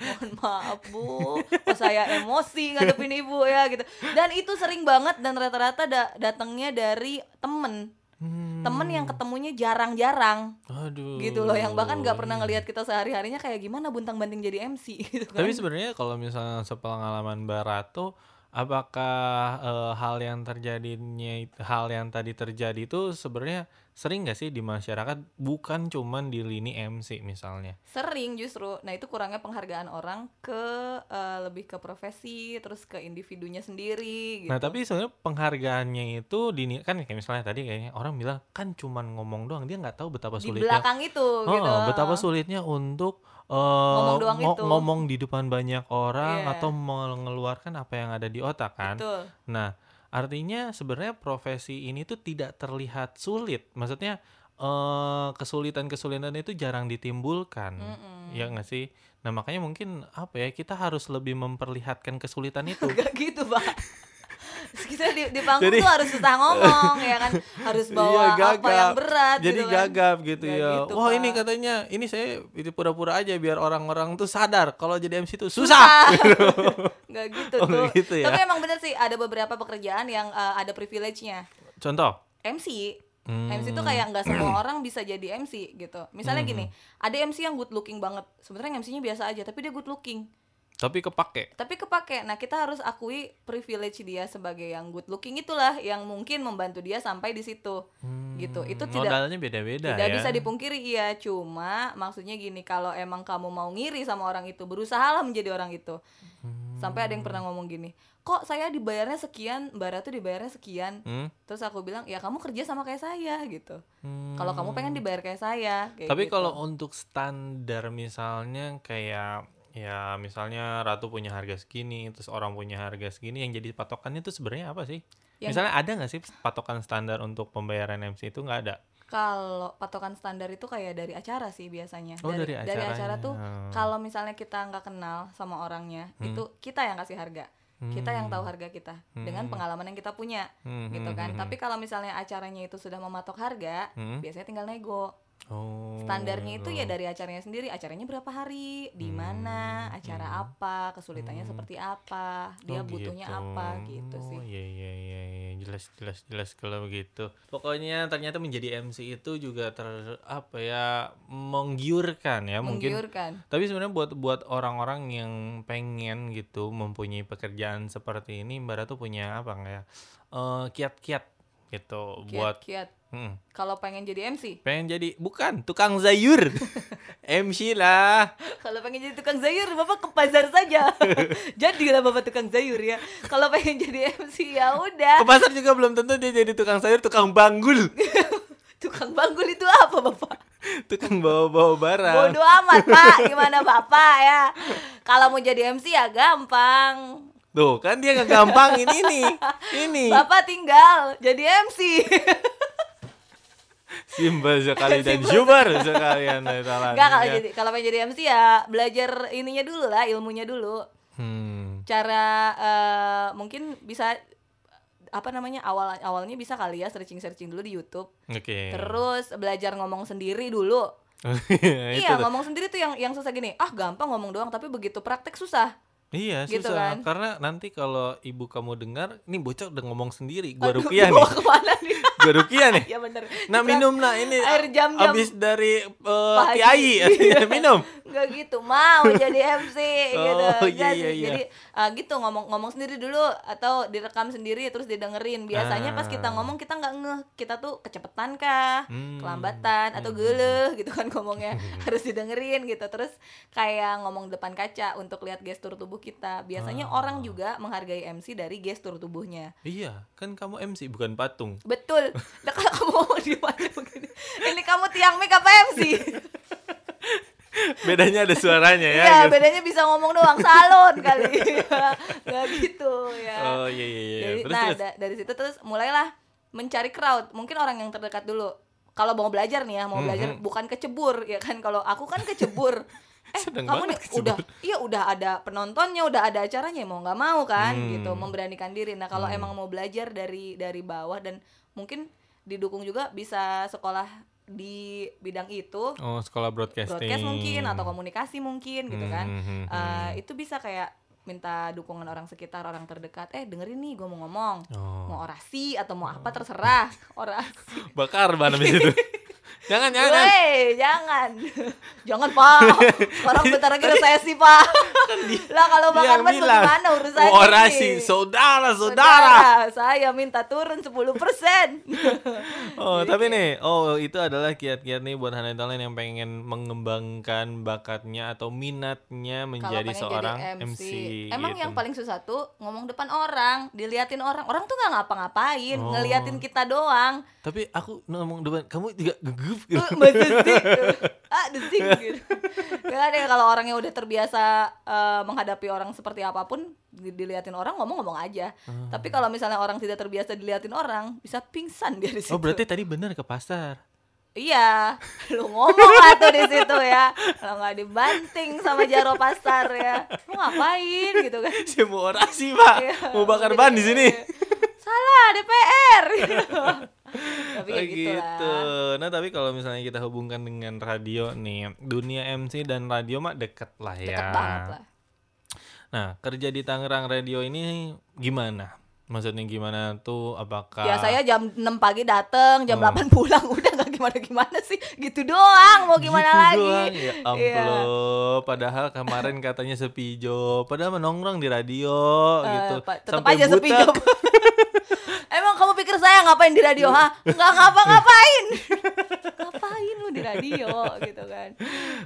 Mohon maaf bu, kok saya emosi ngadepin ibu ya gitu. Dan itu sering banget dan rata-rata da- datangnya dari temen, Hmm. temen yang ketemunya jarang-jarang Aduh. gitu loh, yang bahkan nggak pernah ngelihat kita sehari-harinya kayak gimana buntang banting jadi MC gitu kan. Tapi sebenarnya kalau misalnya sepengalaman Barat tuh apakah eh, hal yang terjadinya hal yang tadi terjadi itu sebenarnya sering gak sih di masyarakat bukan cuman di lini MC misalnya. sering justru nah itu kurangnya penghargaan orang ke eh, lebih ke profesi terus ke individunya sendiri gitu Nah, tapi sebenarnya penghargaannya itu di ni- kan kayak misalnya tadi kayaknya orang bilang kan cuman ngomong doang dia nggak tahu betapa di sulitnya. belakang itu Oh, gitu betapa sulitnya untuk eh, Ngomong doang ngo- itu. ngomong di depan banyak orang Iya. atau mengeluarkan apa yang ada di otak kan. Betul. Nah, artinya sebenarnya profesi ini tuh tidak terlihat sulit. Maksudnya eh, kesulitan-kesulitan itu jarang ditimbulkan. Ya nggak sih? Nah, makanya mungkin apa ya, kita harus lebih memperlihatkan kesulitan itu. Gak gitu, Pak. Kita di, di panggung Jadi- tuh harus susah ngomong ya kan, harus bawa Iya, apa yang gagap. berat Jadi gitu kan. gagap gitu Nggak ya. gitu, Wah, Pak. ini katanya ini saya itu pura-pura aja biar orang-orang tuh sadar kalau jadi MC itu susah. Susah. Gak gitu Oh, nggak tuh. gitu ya. Tapi emang bener sih ada beberapa pekerjaan yang eh, ada privilege-nya. Contoh. MC Hmm. MC tuh kayak nggak semua orang bisa jadi MC gitu. Misalnya gini, Hmm. ada MC yang good looking banget. Sebenarnya MC-nya biasa aja, tapi dia good looking. Tapi kepake. tapi kepake nah kita harus akui privilege dia sebagai yang good looking itulah yang mungkin membantu dia sampai di situ gitu itu tidak Modalnya beda-beda tidak Hmm, ya. bisa dipungkiri iya cuma maksudnya gini kalau emang kamu mau ngiri sama orang itu berusahalah menjadi orang itu Hmm. sampai ada yang pernah ngomong gini kok saya dibayarnya sekian mbak Ratu dibayarnya sekian Hmm? terus aku bilang ya kamu kerja sama kayak saya gitu Hmm. kalau kamu pengen dibayar kayak saya kayak Tapi gitu. kalau untuk standar misalnya kayak ya misalnya ratu punya harga segini, terus orang punya harga segini, yang jadi patokannya itu sebenarnya apa sih? Yang- Misalnya ada nggak sih patokan standar untuk pembayaran MC itu nggak ada? Kalau patokan standar itu kayak dari acara sih biasanya. Oh, dari acara acaranya. tuh Hmm. kalau misalnya kita nggak kenal sama orangnya, itu kita yang kasih harga. Kita yang tahu harga kita dengan pengalaman yang kita punya Hmm, gitu hmm, kan. hmm, Tapi kalau misalnya acaranya itu sudah mematok harga, Hmm. biasanya tinggal nego. Oh. Hmm. Standarnya itu ya dari acaranya sendiri, acaranya berapa hari, di mana, acara apa, kesulitannya seperti apa, Oh, dia butuhnya gitu. apa gitu Oh, sih. Iya iya iya iya. jelas jelas jelas kalau begitu. Pokoknya ternyata menjadi MC itu juga ter apa ya menggiurkan ya mungkin Menggiurkan. Tapi sebenarnya buat buat orang-orang yang pengen gitu mempunyai pekerjaan seperti ini, Mbak Ratu punya apa nggak ya? Eh, Kiat-kiat gitu buat Kiat-kiat. Mm. Kalau pengen jadi MC, pengen jadi bukan tukang zayur, MC lah. Kalau pengen jadi tukang sayur, bapak ke pasar saja. Jadilah bapak tukang sayur ya. Kalau pengen jadi MC ya Ke udah. pasar juga belum tentu dia jadi tukang sayur, tukang banggul, Tukang banggul itu apa bapak? tukang bawa-bawa barang. Bodoh amat pak, gimana bapak ya? Kalau mau jadi MC ya gampang. Tuh kan dia ngegampangin ini, ini. Bapak tinggal jadi MC. Simbol sekali dan Jubar sekalian Thailand. Enggak kalau gitu. jadi kalau pengen jadi MC ya belajar ininya dulu lah, ilmunya dulu. Hmm. Cara eh, mungkin bisa apa namanya awal awalnya bisa kali ya searching searching dulu di YouTube. Oke. Terus belajar ngomong sendiri dulu. Nah, Itu iya tuh. ngomong sendiri tuh yang yang susah gini. Ah gampang ngomong doang tapi begitu praktek susah. Iya Gitu susah kan. karena nanti kalau ibu kamu dengar ini bocah udah ngomong sendiri gua Aduh, rupiah dibawa nih kemana nih? gua rupiah nih ya bener. nah Kita- minum nah ini Air jam-jam. Iya. abis dari eh, Pak kiai Haji. artinya minum nggak gitu mau jadi MC gitu Oh, iya, Nggak sih. iya, iya. jadi eh, gitu ngomong ngomong sendiri dulu atau direkam sendiri terus didengerin biasanya pas kita Ah. ngomong kita nggak ngeh kita tuh kecepetan kah Hmm. kelambatan atau geleh gitu kan ngomongnya harus didengerin gitu terus kayak ngomong depan kaca untuk lihat gestur tubuh kita biasanya Ah. orang juga menghargai MC dari gestur tubuhnya iya kan kamu MC bukan patung betul nah, kalau kamu ngomong di mana begini ini kamu tiang mic apa MC bedanya ada suaranya ya Iya, gitu. bedanya bisa ngomong doang salon kali. Enggak gitu ya. oh iya iya iya Jadi, terus nah, terus da- dari situ terus mulailah mencari crowd, mungkin orang yang terdekat dulu. Kalau mau belajar nih ya, mau belajar Mhm. bukan kecebur ya kan. Kalau aku kan kecebur. Eh, Seneng kamu nih banget udah iya udah ada penontonnya, udah ada acaranya, mau nggak mau kan Hmm. gitu, memberanikan diri. Nah, kalau emang mau belajar dari dari bawah dan mungkin didukung juga bisa sekolah di bidang itu, oh sekolah broadcasting broadcast mungkin atau komunikasi mungkin gitu kan. Hmm, hmm, Eh, hmm. itu bisa kayak minta dukungan orang sekitar, orang terdekat. Eh, dengerin nih gue mau ngomong. Oh. Mau orasi atau mau apa terserah. Orasi. bakar ban abis itu jangan jangan Woi, jangan. jangan, Pak. Orang bentar lagi resesi, Pak. kan lah kalau bakar ban bagaimana urusannya? orasi ini? Iya, saudara saudara saya minta turun 10%. Oh, Jadi tapi kayak- nih, oh itu adalah kiat-kiat nih buat Hanai Talent yang pengen mengembangkan bakatnya atau minatnya Kalau menjadi pengen seorang jadi MC. Emang gitu. yang paling susah tuh ngomong depan orang, diliatin orang. Orang tuh nggak ngapa-ngapain, Oh. ngeliatin kita doang. Tapi aku ngomong depan, kamu juga gugup gitu. Tuh, masa sih? ah, desing gitu. Nggak ada kalau orangnya udah terbiasa eh, menghadapi orang seperti apapun, di- diliatin orang ngomong-ngomong aja. Ah. Tapi kalau misalnya orang tidak terbiasa diliatin orang, bisa pingsan dia di Oh, situ. berarti tadi bener ke pasar. Iya, lu ngomong lah tuh di situ ya. Kalau nggak dibanting sama Jaro Pasar ya, lu ngapain gitu kan? Saya mau orasi, Pak. Iya, Mau bakar mungkin ban di iya, sini. iya. Salah DPR. Tapi Oh, kayak gitu, gitu. lah. Nah, tapi kalau misalnya kita hubungkan dengan radio nih, dunia MC dan radio mah deket lah ya. Deket banget lah. Nah, kerja di Tangerang Radio ini gimana? Maksudnya gimana tuh? Apakah Ya saya jam 6 pagi dateng, jam Oh. 8 pulang udah nggak gimana-gimana sih. Gitu doang, mau gimana Gitu lagi? Iya. doang, Ya ampun, padahal kemarin katanya sepi job, padahal menongrong di radio Eh, gitu. Pak, tetep aja sepi butek. job. Emang kamu pikir saya ngapain di radio? Hah? Nggak ngapa-ngapain. ngapain lu di radio gitu kan?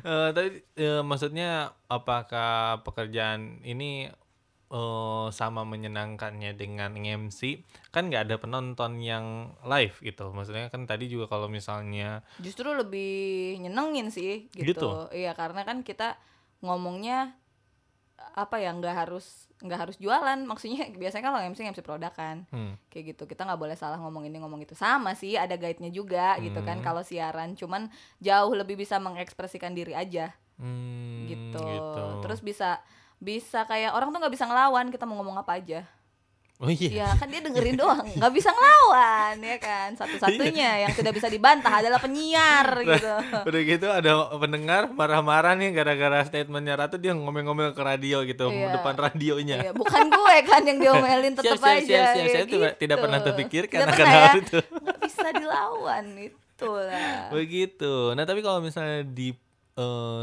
Eh, tapi eh, maksudnya apakah pekerjaan ini eh, sama menyenangkannya dengan MC? Kan nggak ada penonton yang live gitu. Maksudnya kan tadi juga kalau misalnya Justru lebih nyenengin sih gitu. Gitu? Iya, karena kan kita ngomongnya apa ya nggak harus nggak harus jualan maksudnya biasanya kalau MC MC produk kan hmm, kayak gitu kita nggak boleh salah ngomong ini ngomong itu sama sih ada guide-nya juga gitu kan Hmm. kalau siaran cuman jauh lebih bisa mengekspresikan diri aja hmm, gitu. Terus bisa bisa kayak orang tuh nggak bisa ngelawan kita mau ngomong apa aja. Oh iya. Ya kan dia dengerin doang, nggak bisa ngelawan ya kan. Satu-satunya yang tidak bisa dibantah adalah penyiar gitu. Udah gitu ada pendengar marah-marah nih gara-gara statementnya Ratu dia ngomel-ngomel ke radio gitu Iya. depan radionya. Iya, bukan gue kan yang diomelin Siap, tetap siap, aja. siap, siap. ya Saya tidak- tidak pernah terpikirkan Tidak akan pernah hal ya. itu. Nggak bisa dilawan itulah. Begitu. Nah, tapi kalau misalnya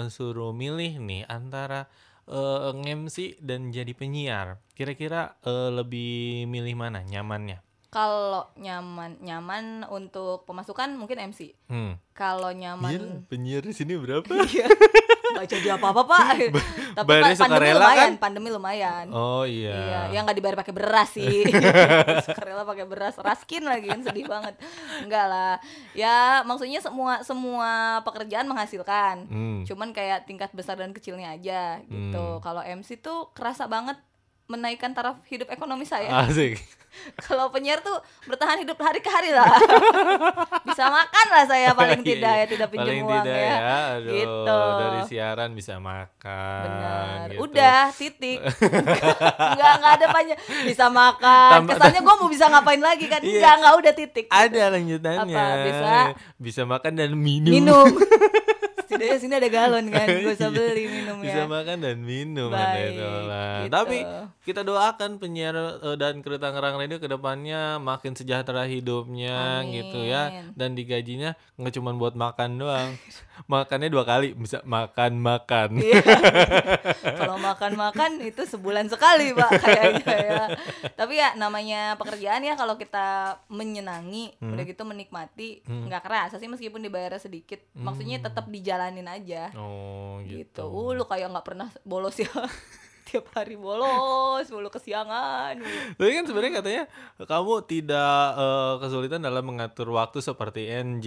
disuruh milih nih antara eh, nge-MC dan jadi penyiar, kira-kira eh, lebih milih mana nyamannya? Kalau nyaman nyaman untuk pemasukan mungkin MC. Hmm. Kalau nyaman Iya, penyiar di sini berapa? Iya. Gak jadi apa-apa pak Tapi pa- bayarnya pandemi sukarela lumayan kan? Pandemi lumayan Oh iya. Iya, ya nggak dibayar pakai beras sih. Sukarela pakai beras, raskin lagi kan sedih banget. Enggak lah. Ya, maksudnya semua semua pekerjaan menghasilkan. Hmm. Cuman kayak tingkat besar dan kecilnya aja Hmm. gitu. Kalau MC tuh kerasa banget menaikkan taraf hidup ekonomi saya. Asik. Kalau penyiar tuh bertahan hidup hari ke hari lah. Bisa makan lah saya paling tidak ya, tidak Iya, pinjam Paling uang tidak ya. Aduh, Gitu. dari siaran bisa makan. Benar. gitu. Udah, titik. Enggak, enggak ada banyak. Bisa makan. Tambah- Kesannya gua mau bisa ngapain lagi kan? Iya. Enggak, enggak udah titik. Ada lanjutannya. Apa, bisa? Bisa makan dan minum. Minum. Setidaknya sini ada galon kan, gua bisa beli minumnya. Bisa makan dan minum ada ya. Baik, itu lah. gitu. Tapi kita doakan penyiar eh, dan kru Tangerang Radio kedepannya makin sejahtera hidupnya Amin. gitu ya dan digajinya nggak cuma buat makan doang makannya dua kali bisa makan makan Iya. Kalau makan-makan itu sebulan sekali, Pak, kayaknya ya. Tapi ya namanya pekerjaan ya kalau kita menyenangi, udah gitu menikmati, nggak kerasa sih meskipun dibayarnya sedikit. Maksudnya tetap dijalanin aja. oh Gitu. gitu, Uh, lu kayak nggak pernah bolos ya. Tiap hari bolos, mulu kesiangan. mulu. Tapi kan sebenarnya katanya kamu tidak eh, kesulitan dalam mengatur waktu seperti NG.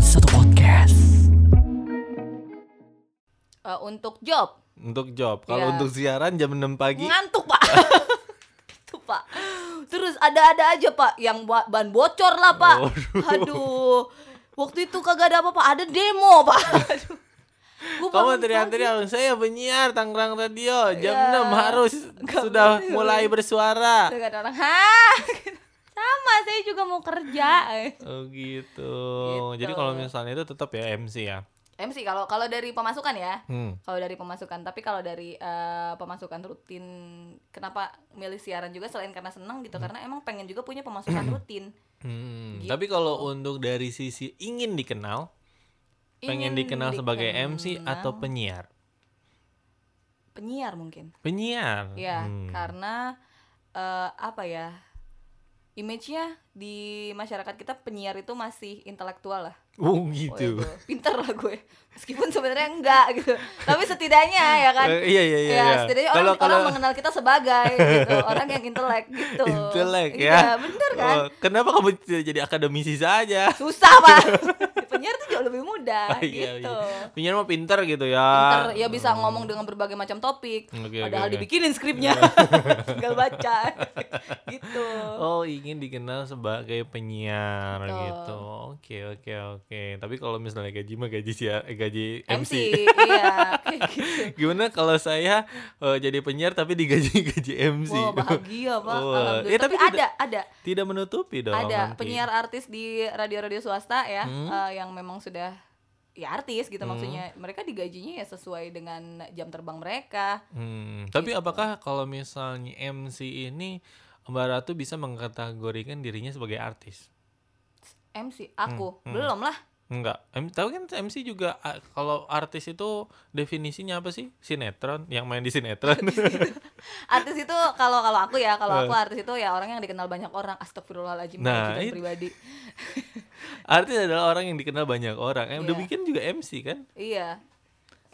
satu Podcast Eh, untuk job Untuk job. Kalau Iya. untuk siaran jam 6 pagi ngantuk pak itu pak terus ada-ada aja pak yang ba- ban bocor lah pak aduh, waktu itu kagak ada apa-apa ada demo pak aduh kamu Gua bangun pagi. teriak-teriak saya penyiar Tangerang Radio jam Iya. 6 harus Nggak sudah boleh. mulai bersuara. Terus ada orang hah sama saya juga mau kerja Oh gitu. Gitu. Jadi kalau misalnya itu tetap ya MC ya. MC kalau kalau dari pemasukan ya Hmm. kalau dari pemasukan tapi kalau dari eh, pemasukan rutin kenapa milih siaran juga selain karena senang gitu karena emang pengen juga punya pemasukan rutin Hmm, Gitu. Tapi kalau untuk dari sisi ingin dikenal, pengen Ingin dikenal sebagai MC dikenal. atau penyiar? penyiar mungkin Penyiar. Ya, Hmm. karena eh, apa ya? Image-nya di masyarakat kita penyiar itu masih intelektual lah. Oh Oh, gitu. ya, gue Pinter lah gue. Meskipun sebenarnya enggak gitu. Tapi setidaknya ya kan. Eh, iya iya iya. ya, iya. setidaknya Kalau- orang, orang kalau- mengenal kita sebagai gitu, orang yang intelek gitu. Intelek Iya, ya. bener kan? Oh, kenapa kamu tidak jadi akademisi saja? Susah, Pak. penyiar tuh jauh lebih mudah Oh, iya, gitu. iya. Penyiar mah pinter gitu ya. Pinter, ya bisa ngomong dengan berbagai macam topik. Oke, oke, padahal oke. dibikinin skripnya. Tinggal baca. gitu. Oh ingin dikenal sebagai penyiar Betul. gitu. Oke oke oke. Tapi kalau misalnya gaji mah gaji sia- eh, gaji MC, MC. iya kayak gitu. Gimana kalau saya eh, jadi penyiar tapi digaji gaji MC? Wah bahagia pak, Wah. alhamdulillah. Ya, tapi, tapi Ya, ada, ada, Tidak menutupi dong. ada nanti. penyiar artis di radio-radio swasta ya, Hmm? eh, yang memang sudah ya artis gitu maksudnya. Mereka digajinya ya sesuai dengan jam terbang mereka. Hmm, gitu. Tapi apakah kalau misalnya MC ini Mbak Ratu bisa mengkategorikan dirinya sebagai artis? MC, aku Hmm, belum lah. Enggak, em, tahu kan MC juga a- kalau artis itu definisinya apa sih? Sinetron, yang main di sinetron. Artis itu kalau kalau aku ya, kalau aku artis itu ya orang yang dikenal banyak orang. Astagfirullahaladzim, Hmm. Nah, majikan itu- pribadi. artis adalah orang yang dikenal banyak orang. Yang Iya. demikian juga MC kan? Iya.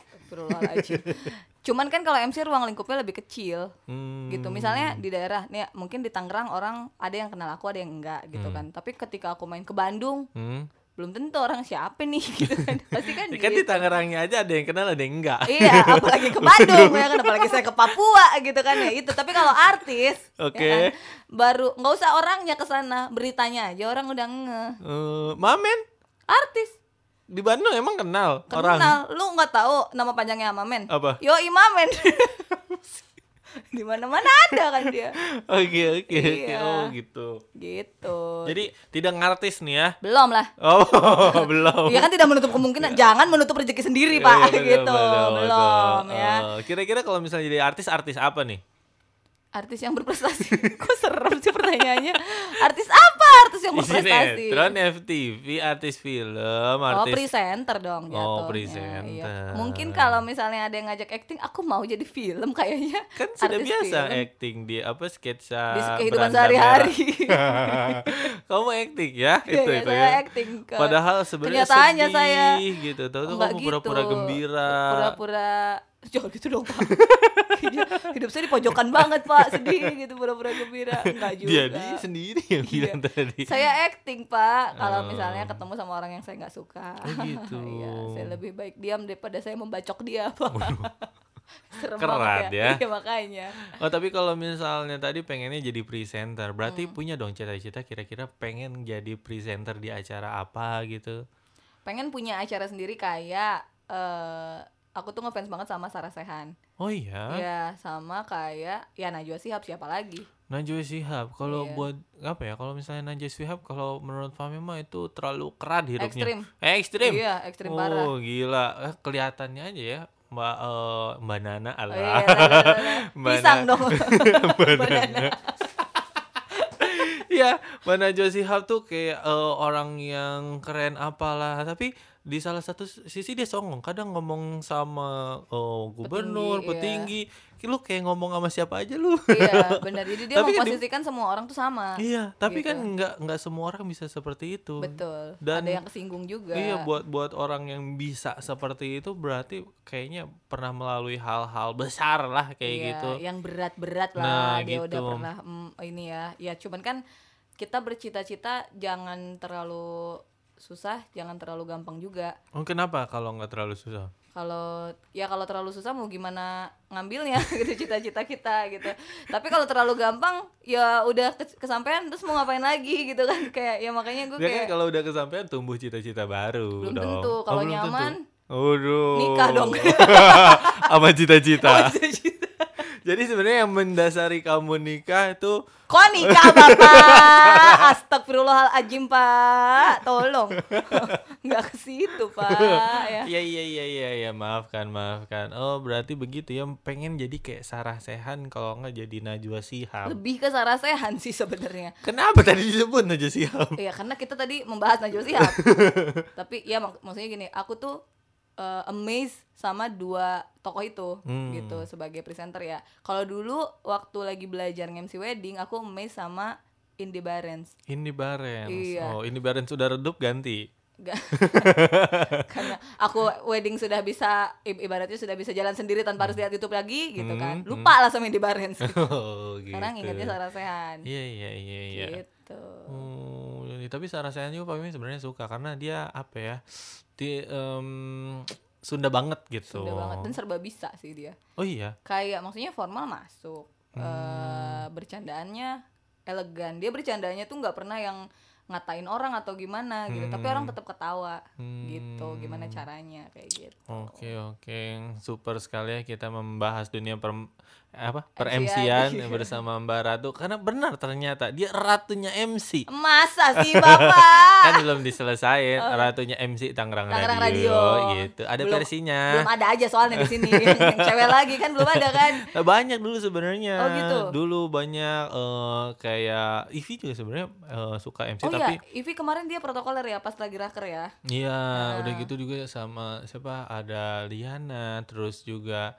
Astagfirullahaladzim. Cuman kan kalau MC ruang lingkupnya lebih kecil. Hmm, gitu misalnya di daerah nih ya, mungkin di Tangerang orang ada yang kenal aku ada yang enggak gitu kan tapi ketika aku main ke Bandung hmm. belum tentu orang siapa nih gitu kan pasti kan, Ya kan di gitu. Tangerangnya aja ada yang kenal ada yang enggak. iya apalagi ke Bandung ya kan apalagi saya ke Papua gitu kan ya itu tapi kalau artis ya Oke. kan, baru nggak usah orangnya ke sana beritanya aja orang udah nge Eh, Mamen artis di Bandung emang kenal, orang. kenal lu nggak tahu nama panjangnya Mamen Apa? yo Imamen di mana mana ada kan dia Oke, oke, oke. Iya. Oh, gitu. gitu Jadi tidak ngartis nih ya. belum lah Oh, belum. Ya kan tidak menutup kemungkinan. Jangan menutup rezeki sendiri, Iya, Pak. betul, gitu. betul, betul. Belum ya. Eh, Kira-kira kalau misalnya jadi artis, artis apa nih? Artis yang berprestasi. Kok serem sih pertanyaannya? Artis apa artis yang Di berprestasi? Sinetron, FTV, artis film, Oh, artis. presenter dong jatuhnya. Oh, Iya. presenter. Mungkin kalau misalnya ada yang ngajak acting, aku mau jadi film kayaknya. kan sudah Artis biasa ah, film. acting di apa sketsa Di kehidupan beranda merah. sehari-hari. kamu acting ya Iya, itu iya, itu saya ya. acting ke- Padahal sebenarnya kenyataannya sedih saya gitu, tahu tuh Enggak kamu pura-pura Oh, gitu. gembira. Pura-pura Jangan gitu dong pak hidup, hidup saya di pojokan banget pak Sedih gitu pura-pura gembira Enggak juga Iya. Jadi sendiri yang bilang tadi. Saya acting pak Kalau Oh. misalnya ketemu sama orang yang saya nggak suka Oh, gitu. Iya, Saya lebih baik diam daripada saya membacok dia pak Serem Kerat banget ya, ya. Iya, makanya Oh, tapi kalau misalnya tadi pengennya jadi presenter, Hmm. berarti punya dong cita-cita kira-kira pengen jadi presenter di acara apa gitu. Pengen punya acara sendiri kayak eh Aku tuh ngefans banget sama Sarah Sehan Oh iya, Ya sama kayak Ya Najwa Shihab siapa lagi Najwa Shihab. Kalau Iya. buat apa ya? Kalau misalnya Najwa Shihab kalau menurut Fahmi mah itu terlalu kerat hidupnya. Ekstrim. Eh, ekstrim. Iya ekstrim oh, parah gila. Eh, kelihatannya aja ya. Mbak eh, Mbak Nana Oh, ala. iya, lah, lah, lah, lah. Mbak Pisang Na- dong Banana. Iya, mana Josihab tuh kayak eh, orang yang keren apalah, tapi di salah satu sisi dia songong. Kadang ngomong sama eh, gubernur, Petinggi, petinggi, lu kayak ngomong sama siapa aja lu. iya benar jadi dia Tapi kan di- memposisikan semua orang tuh sama iya, tapi gitu. kan nggak nggak semua orang bisa seperti itu. betul Dan- ada yang kesinggung juga Iya, buat buat orang yang bisa seperti itu berarti kayaknya pernah melalui hal-hal besar lah kayak Iya, gitu. yang berat-berat lah Nah, dia udah gitu. pernah mm, ini ya ya cuman kan kita bercita-cita jangan terlalu susah jangan terlalu gampang juga Oh, kenapa kalau nggak terlalu susah? kalau ya kalau terlalu susah mau gimana ngambilnya gitu cita-cita kita gitu tapi kalau terlalu gampang ya udah ke- kesampaian terus mau ngapain lagi gitu kan kayak ya makanya gue Ya kan kayak kalau udah kesampaian tumbuh cita-cita baru Belum dong. tentu, Oh, kalau belum tentu. nyaman, Waduh. nikah dong. Sama cita-cita. Jadi sebenarnya yang mendasari kamu nikah itu Kok nikah bapak? Astagfirullahaladzim pak, tolong nggak ke situ pak ya. Iya iya iya iya ya, maafkan maafkan. Oh, berarti begitu ya pengen jadi kayak Sarah Sehan kalau nggak jadi Najwa Shihab. Lebih ke Sarah Sehan sih sebenarnya. Kenapa tadi disebut Najwa Shihab? Iya karena kita tadi membahas Najwa Shihab. Tapi ya mak- maksudnya gini, aku tuh eh, amazed sama dua tokoh itu Hmm. gitu sebagai presenter ya. Kalau dulu waktu lagi belajar MC wedding, aku amazed sama Indi Barens. Ini Barens. Iya. Oh, ini Barens sudah redup ganti. Gak. karena aku wedding sudah bisa i- ibaratnya sudah bisa jalan sendiri tanpa harus lihat YouTube lagi gitu kan Hmm, lupa lah sama Indi Barens Oh, gitu. sekarang ingatnya Sarah Sehan Iya iya iya iya. gitu Oh, ya, tapi Sarah Sehan juga Pak Mimi sebenarnya suka karena dia apa ya? Di em, Sunda banget gitu. Sunda banget dan serba bisa sih dia Oh iya. kayak maksudnya formal masuk Eh Hmm. bercandaannya elegan dia bercandanya tuh nggak pernah yang ngatain orang atau gimana gitu tapi Hmm. orang tetap ketawa gitu gimana caranya kayak gitu Oke oke, super sekali ya kita membahas dunia per apa per MC-an. MC-an bersama Mbak Ratu karena benar ternyata dia ratunya MC masa sih bapak kan belum diselesain ratunya MC Tangerang, Oh, iya. Tangerang Radio, Radio. gitu ada Belum- versinya belum ada aja soalnya di sini yang cewek lagi kan belum ada kan Nah, banyak dulu sebenarnya Oh, gitu. dulu banyak eh, kayak Ivi juga sebenarnya eh, suka MC oh tapi iya Ivi kemarin dia protokoler ya pas lagi raker ya Iya, udah gitu juga sama siapa ada Liana, terus juga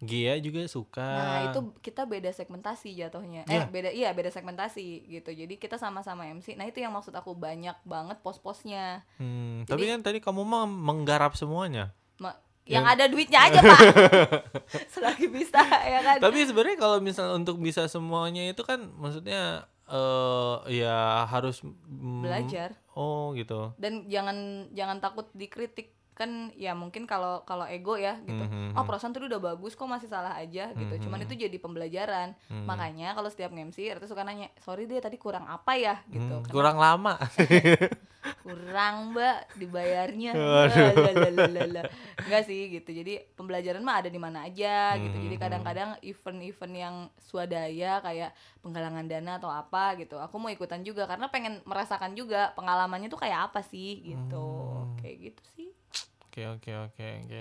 Gia juga suka. nah itu kita beda segmentasi jatuhnya eh Iya. beda iya beda segmentasi gitu jadi kita sama-sama MC nah itu yang maksud aku banyak banget pos-posnya Hmm, tapi kan tadi kamu mah menggarap semuanya. Ma- yang ada duitnya aja pak selagi bisa ya kan Tapi sebenarnya kalau misal untuk bisa semuanya itu kan maksudnya eh ya harus mm, Belajar. Oh, gitu. dan jangan jangan takut dikritik kan ya mungkin kalau kalau ego ya gitu Mhm. oh perasaan tuh udah bagus kok masih salah aja gitu cuman itu jadi pembelajaran Mhm. makanya kalau setiap MC Ratu suka nanya sorry deh tadi kurang apa ya gitu Hmm, kurang lama. kurang mbak dibayarnya Lalalala. enggak sih gitu jadi pembelajaran mah ada di mana aja gitu jadi Hmm. kadang-kadang event-event yang swadaya kayak penggalangan dana atau apa gitu aku mau ikutan juga karena pengen merasakan juga pengalamannya tuh kayak apa sih gitu Hmm. kayak gitu sih Oke oke oke oke.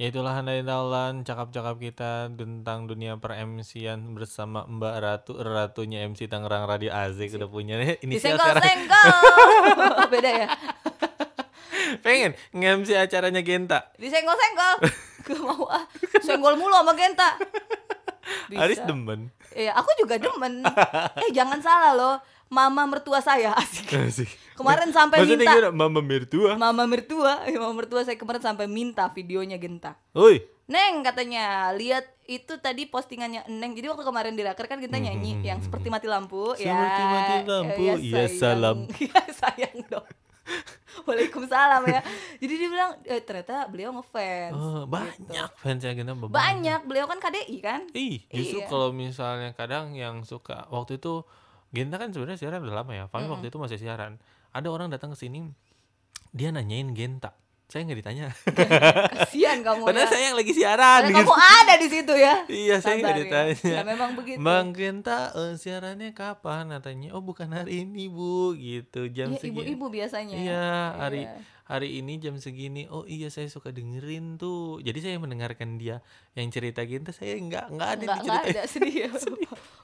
Ya itulah Handai Taulan cakap-cakap kita tentang dunia per MC-an bersama Mbak Ratu ratunya MC Tangerang Radio Azik udah punya nih inisial sekarang. disenggol-senggol beda ya Pengen nge-MC acaranya Genta. disenggol-senggol gue mau ah senggol mulu sama Genta Bisa. Aris demen. Iya, aku juga demen. eh jangan salah loh, mama mertua saya asik. Asik. Kemarin sampai Maksudnya minta gimana? Mama mertua. mama mertua, eh, mama mertua saya kemarin sampai minta videonya Genta. Oi. Neng katanya, lihat itu tadi postingannya Neng. Jadi waktu kemarin di Raker kan kita Hmm, nyanyi yang seperti mati lampu ya. Seperti mati lampu, ya salam. Iya sayang dong. Waalaikumsalam ya. Jadi dia bilang eh, ternyata beliau ngefans. Gitu. Oh, banyak fansnya Genta Bambang. Banyak, beliau kan KDI kan? Ih, justru Iya. kalau misalnya kadang yang suka waktu itu Genta kan sebenarnya siaran udah lama ya. Fahmi waktu itu masih siaran. Ada orang datang ke sini dia nanyain Genta. Saya nggak ditanya. Kasihan kamu Padahal ya. saya yang lagi siaran. Padahal gitu. kamu ada di situ ya. Iya, saya nggak Sabar ya. ditanya. Ya, memang begitu. Bang Genta eh, siarannya kapan? Katanya, oh bukan hari ini bu, gitu jam Iya, segini. ibu-ibu biasanya. Iya, hari Iya. hari ini jam segini. Oh iya, saya suka dengerin tuh. Jadi saya mendengarkan dia yang cerita Genta, saya nggak nggak ada Nggak, di nggak cerita. ada sedih ya.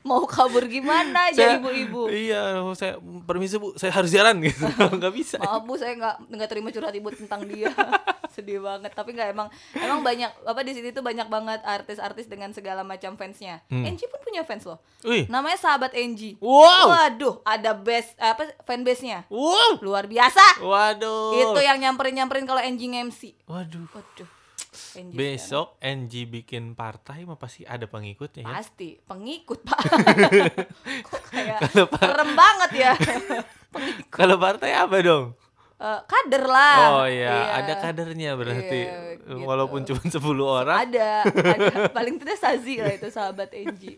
Mau kabur gimana Saya- aja ibu-ibu. Iya, saya permisi bu, saya harus siaran gitu. nggak bisa. Maaf bu, saya nggak nggak terima curhat ibu tentang dia. Sedih banget. Tapi nggak emang emang banyak apa di sini tuh banyak banget artis-artis dengan segala macam fansnya. Angie pun punya fans loh. Hmm. Wih, Namanya sahabat Angie. Wow. Waduh, ada base apa fanbase-nya. wow, Luar biasa. waduh. Itu ya. Gitu. yang nyamperin-nyamperin kalau Angie MC. Waduh. Waduh. Angie sekarang. Besok NG bikin partai mah pasti ada pengikutnya ya. Pasti pengikut, Pak. Kok kayak serem banget ya. Kalau partai apa dong? Eh, kader Oh lah. iya, ada kadernya berarti. Iya, gitu. Walaupun cuma 10 orang. Ada, ada. Paling tidak Sazi lah itu sahabat Enji.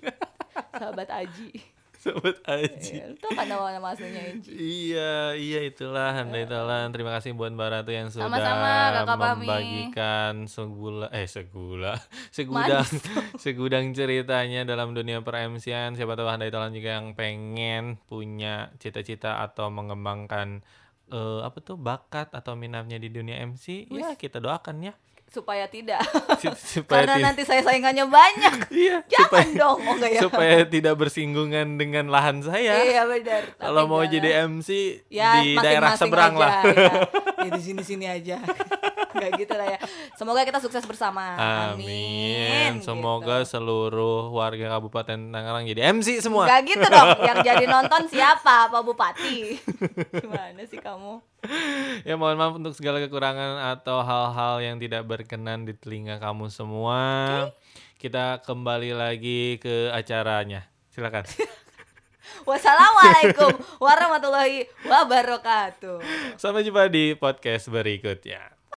Sahabat Aji. Sobat Aji. Iya, Lu tau kan nama, nama aslinya Enji? Iya, iya itulah Handai Talan. Terima kasih buat Mbak Ratu yang sudah Iya. Sama-sama, Kakak Pami. membagikan segula eh segula segudang segudang ceritanya dalam dunia per Siapa tahu Handai Talan juga yang pengen punya cita-cita atau mengembangkan eh, apa tuh bakat atau minatnya di dunia MC. Ya, kita doakan ya. Supaya tidak. Sup- supaya Karena ti- nanti saya saingannya banyak. Iya, Jangan supaya- dong, oh enggak ya. supaya tidak bersinggungan dengan lahan saya. Iya benar. Tapi Kalau mau jangan. jadi MC ya, di masing-masing daerah seberang aja, lah. ya. Ya, di sini-sini aja. Enggak gitu lah ya. Semoga kita sukses bersama. Amin. Gitu. Semoga seluruh warga Kabupaten Tangerang jadi MC semua. Enggak gitu dong. Yang jadi nonton siapa? Pak Bupati. Gimana sih kamu? Ya mohon maaf untuk segala kekurangan atau hal-hal yang tidak berkenan di telinga kamu semua. Kita kembali lagi ke acaranya. Silakan. Wassalamualaikum warahmatullahi wabarakatuh. Sampai jumpa di podcast berikutnya.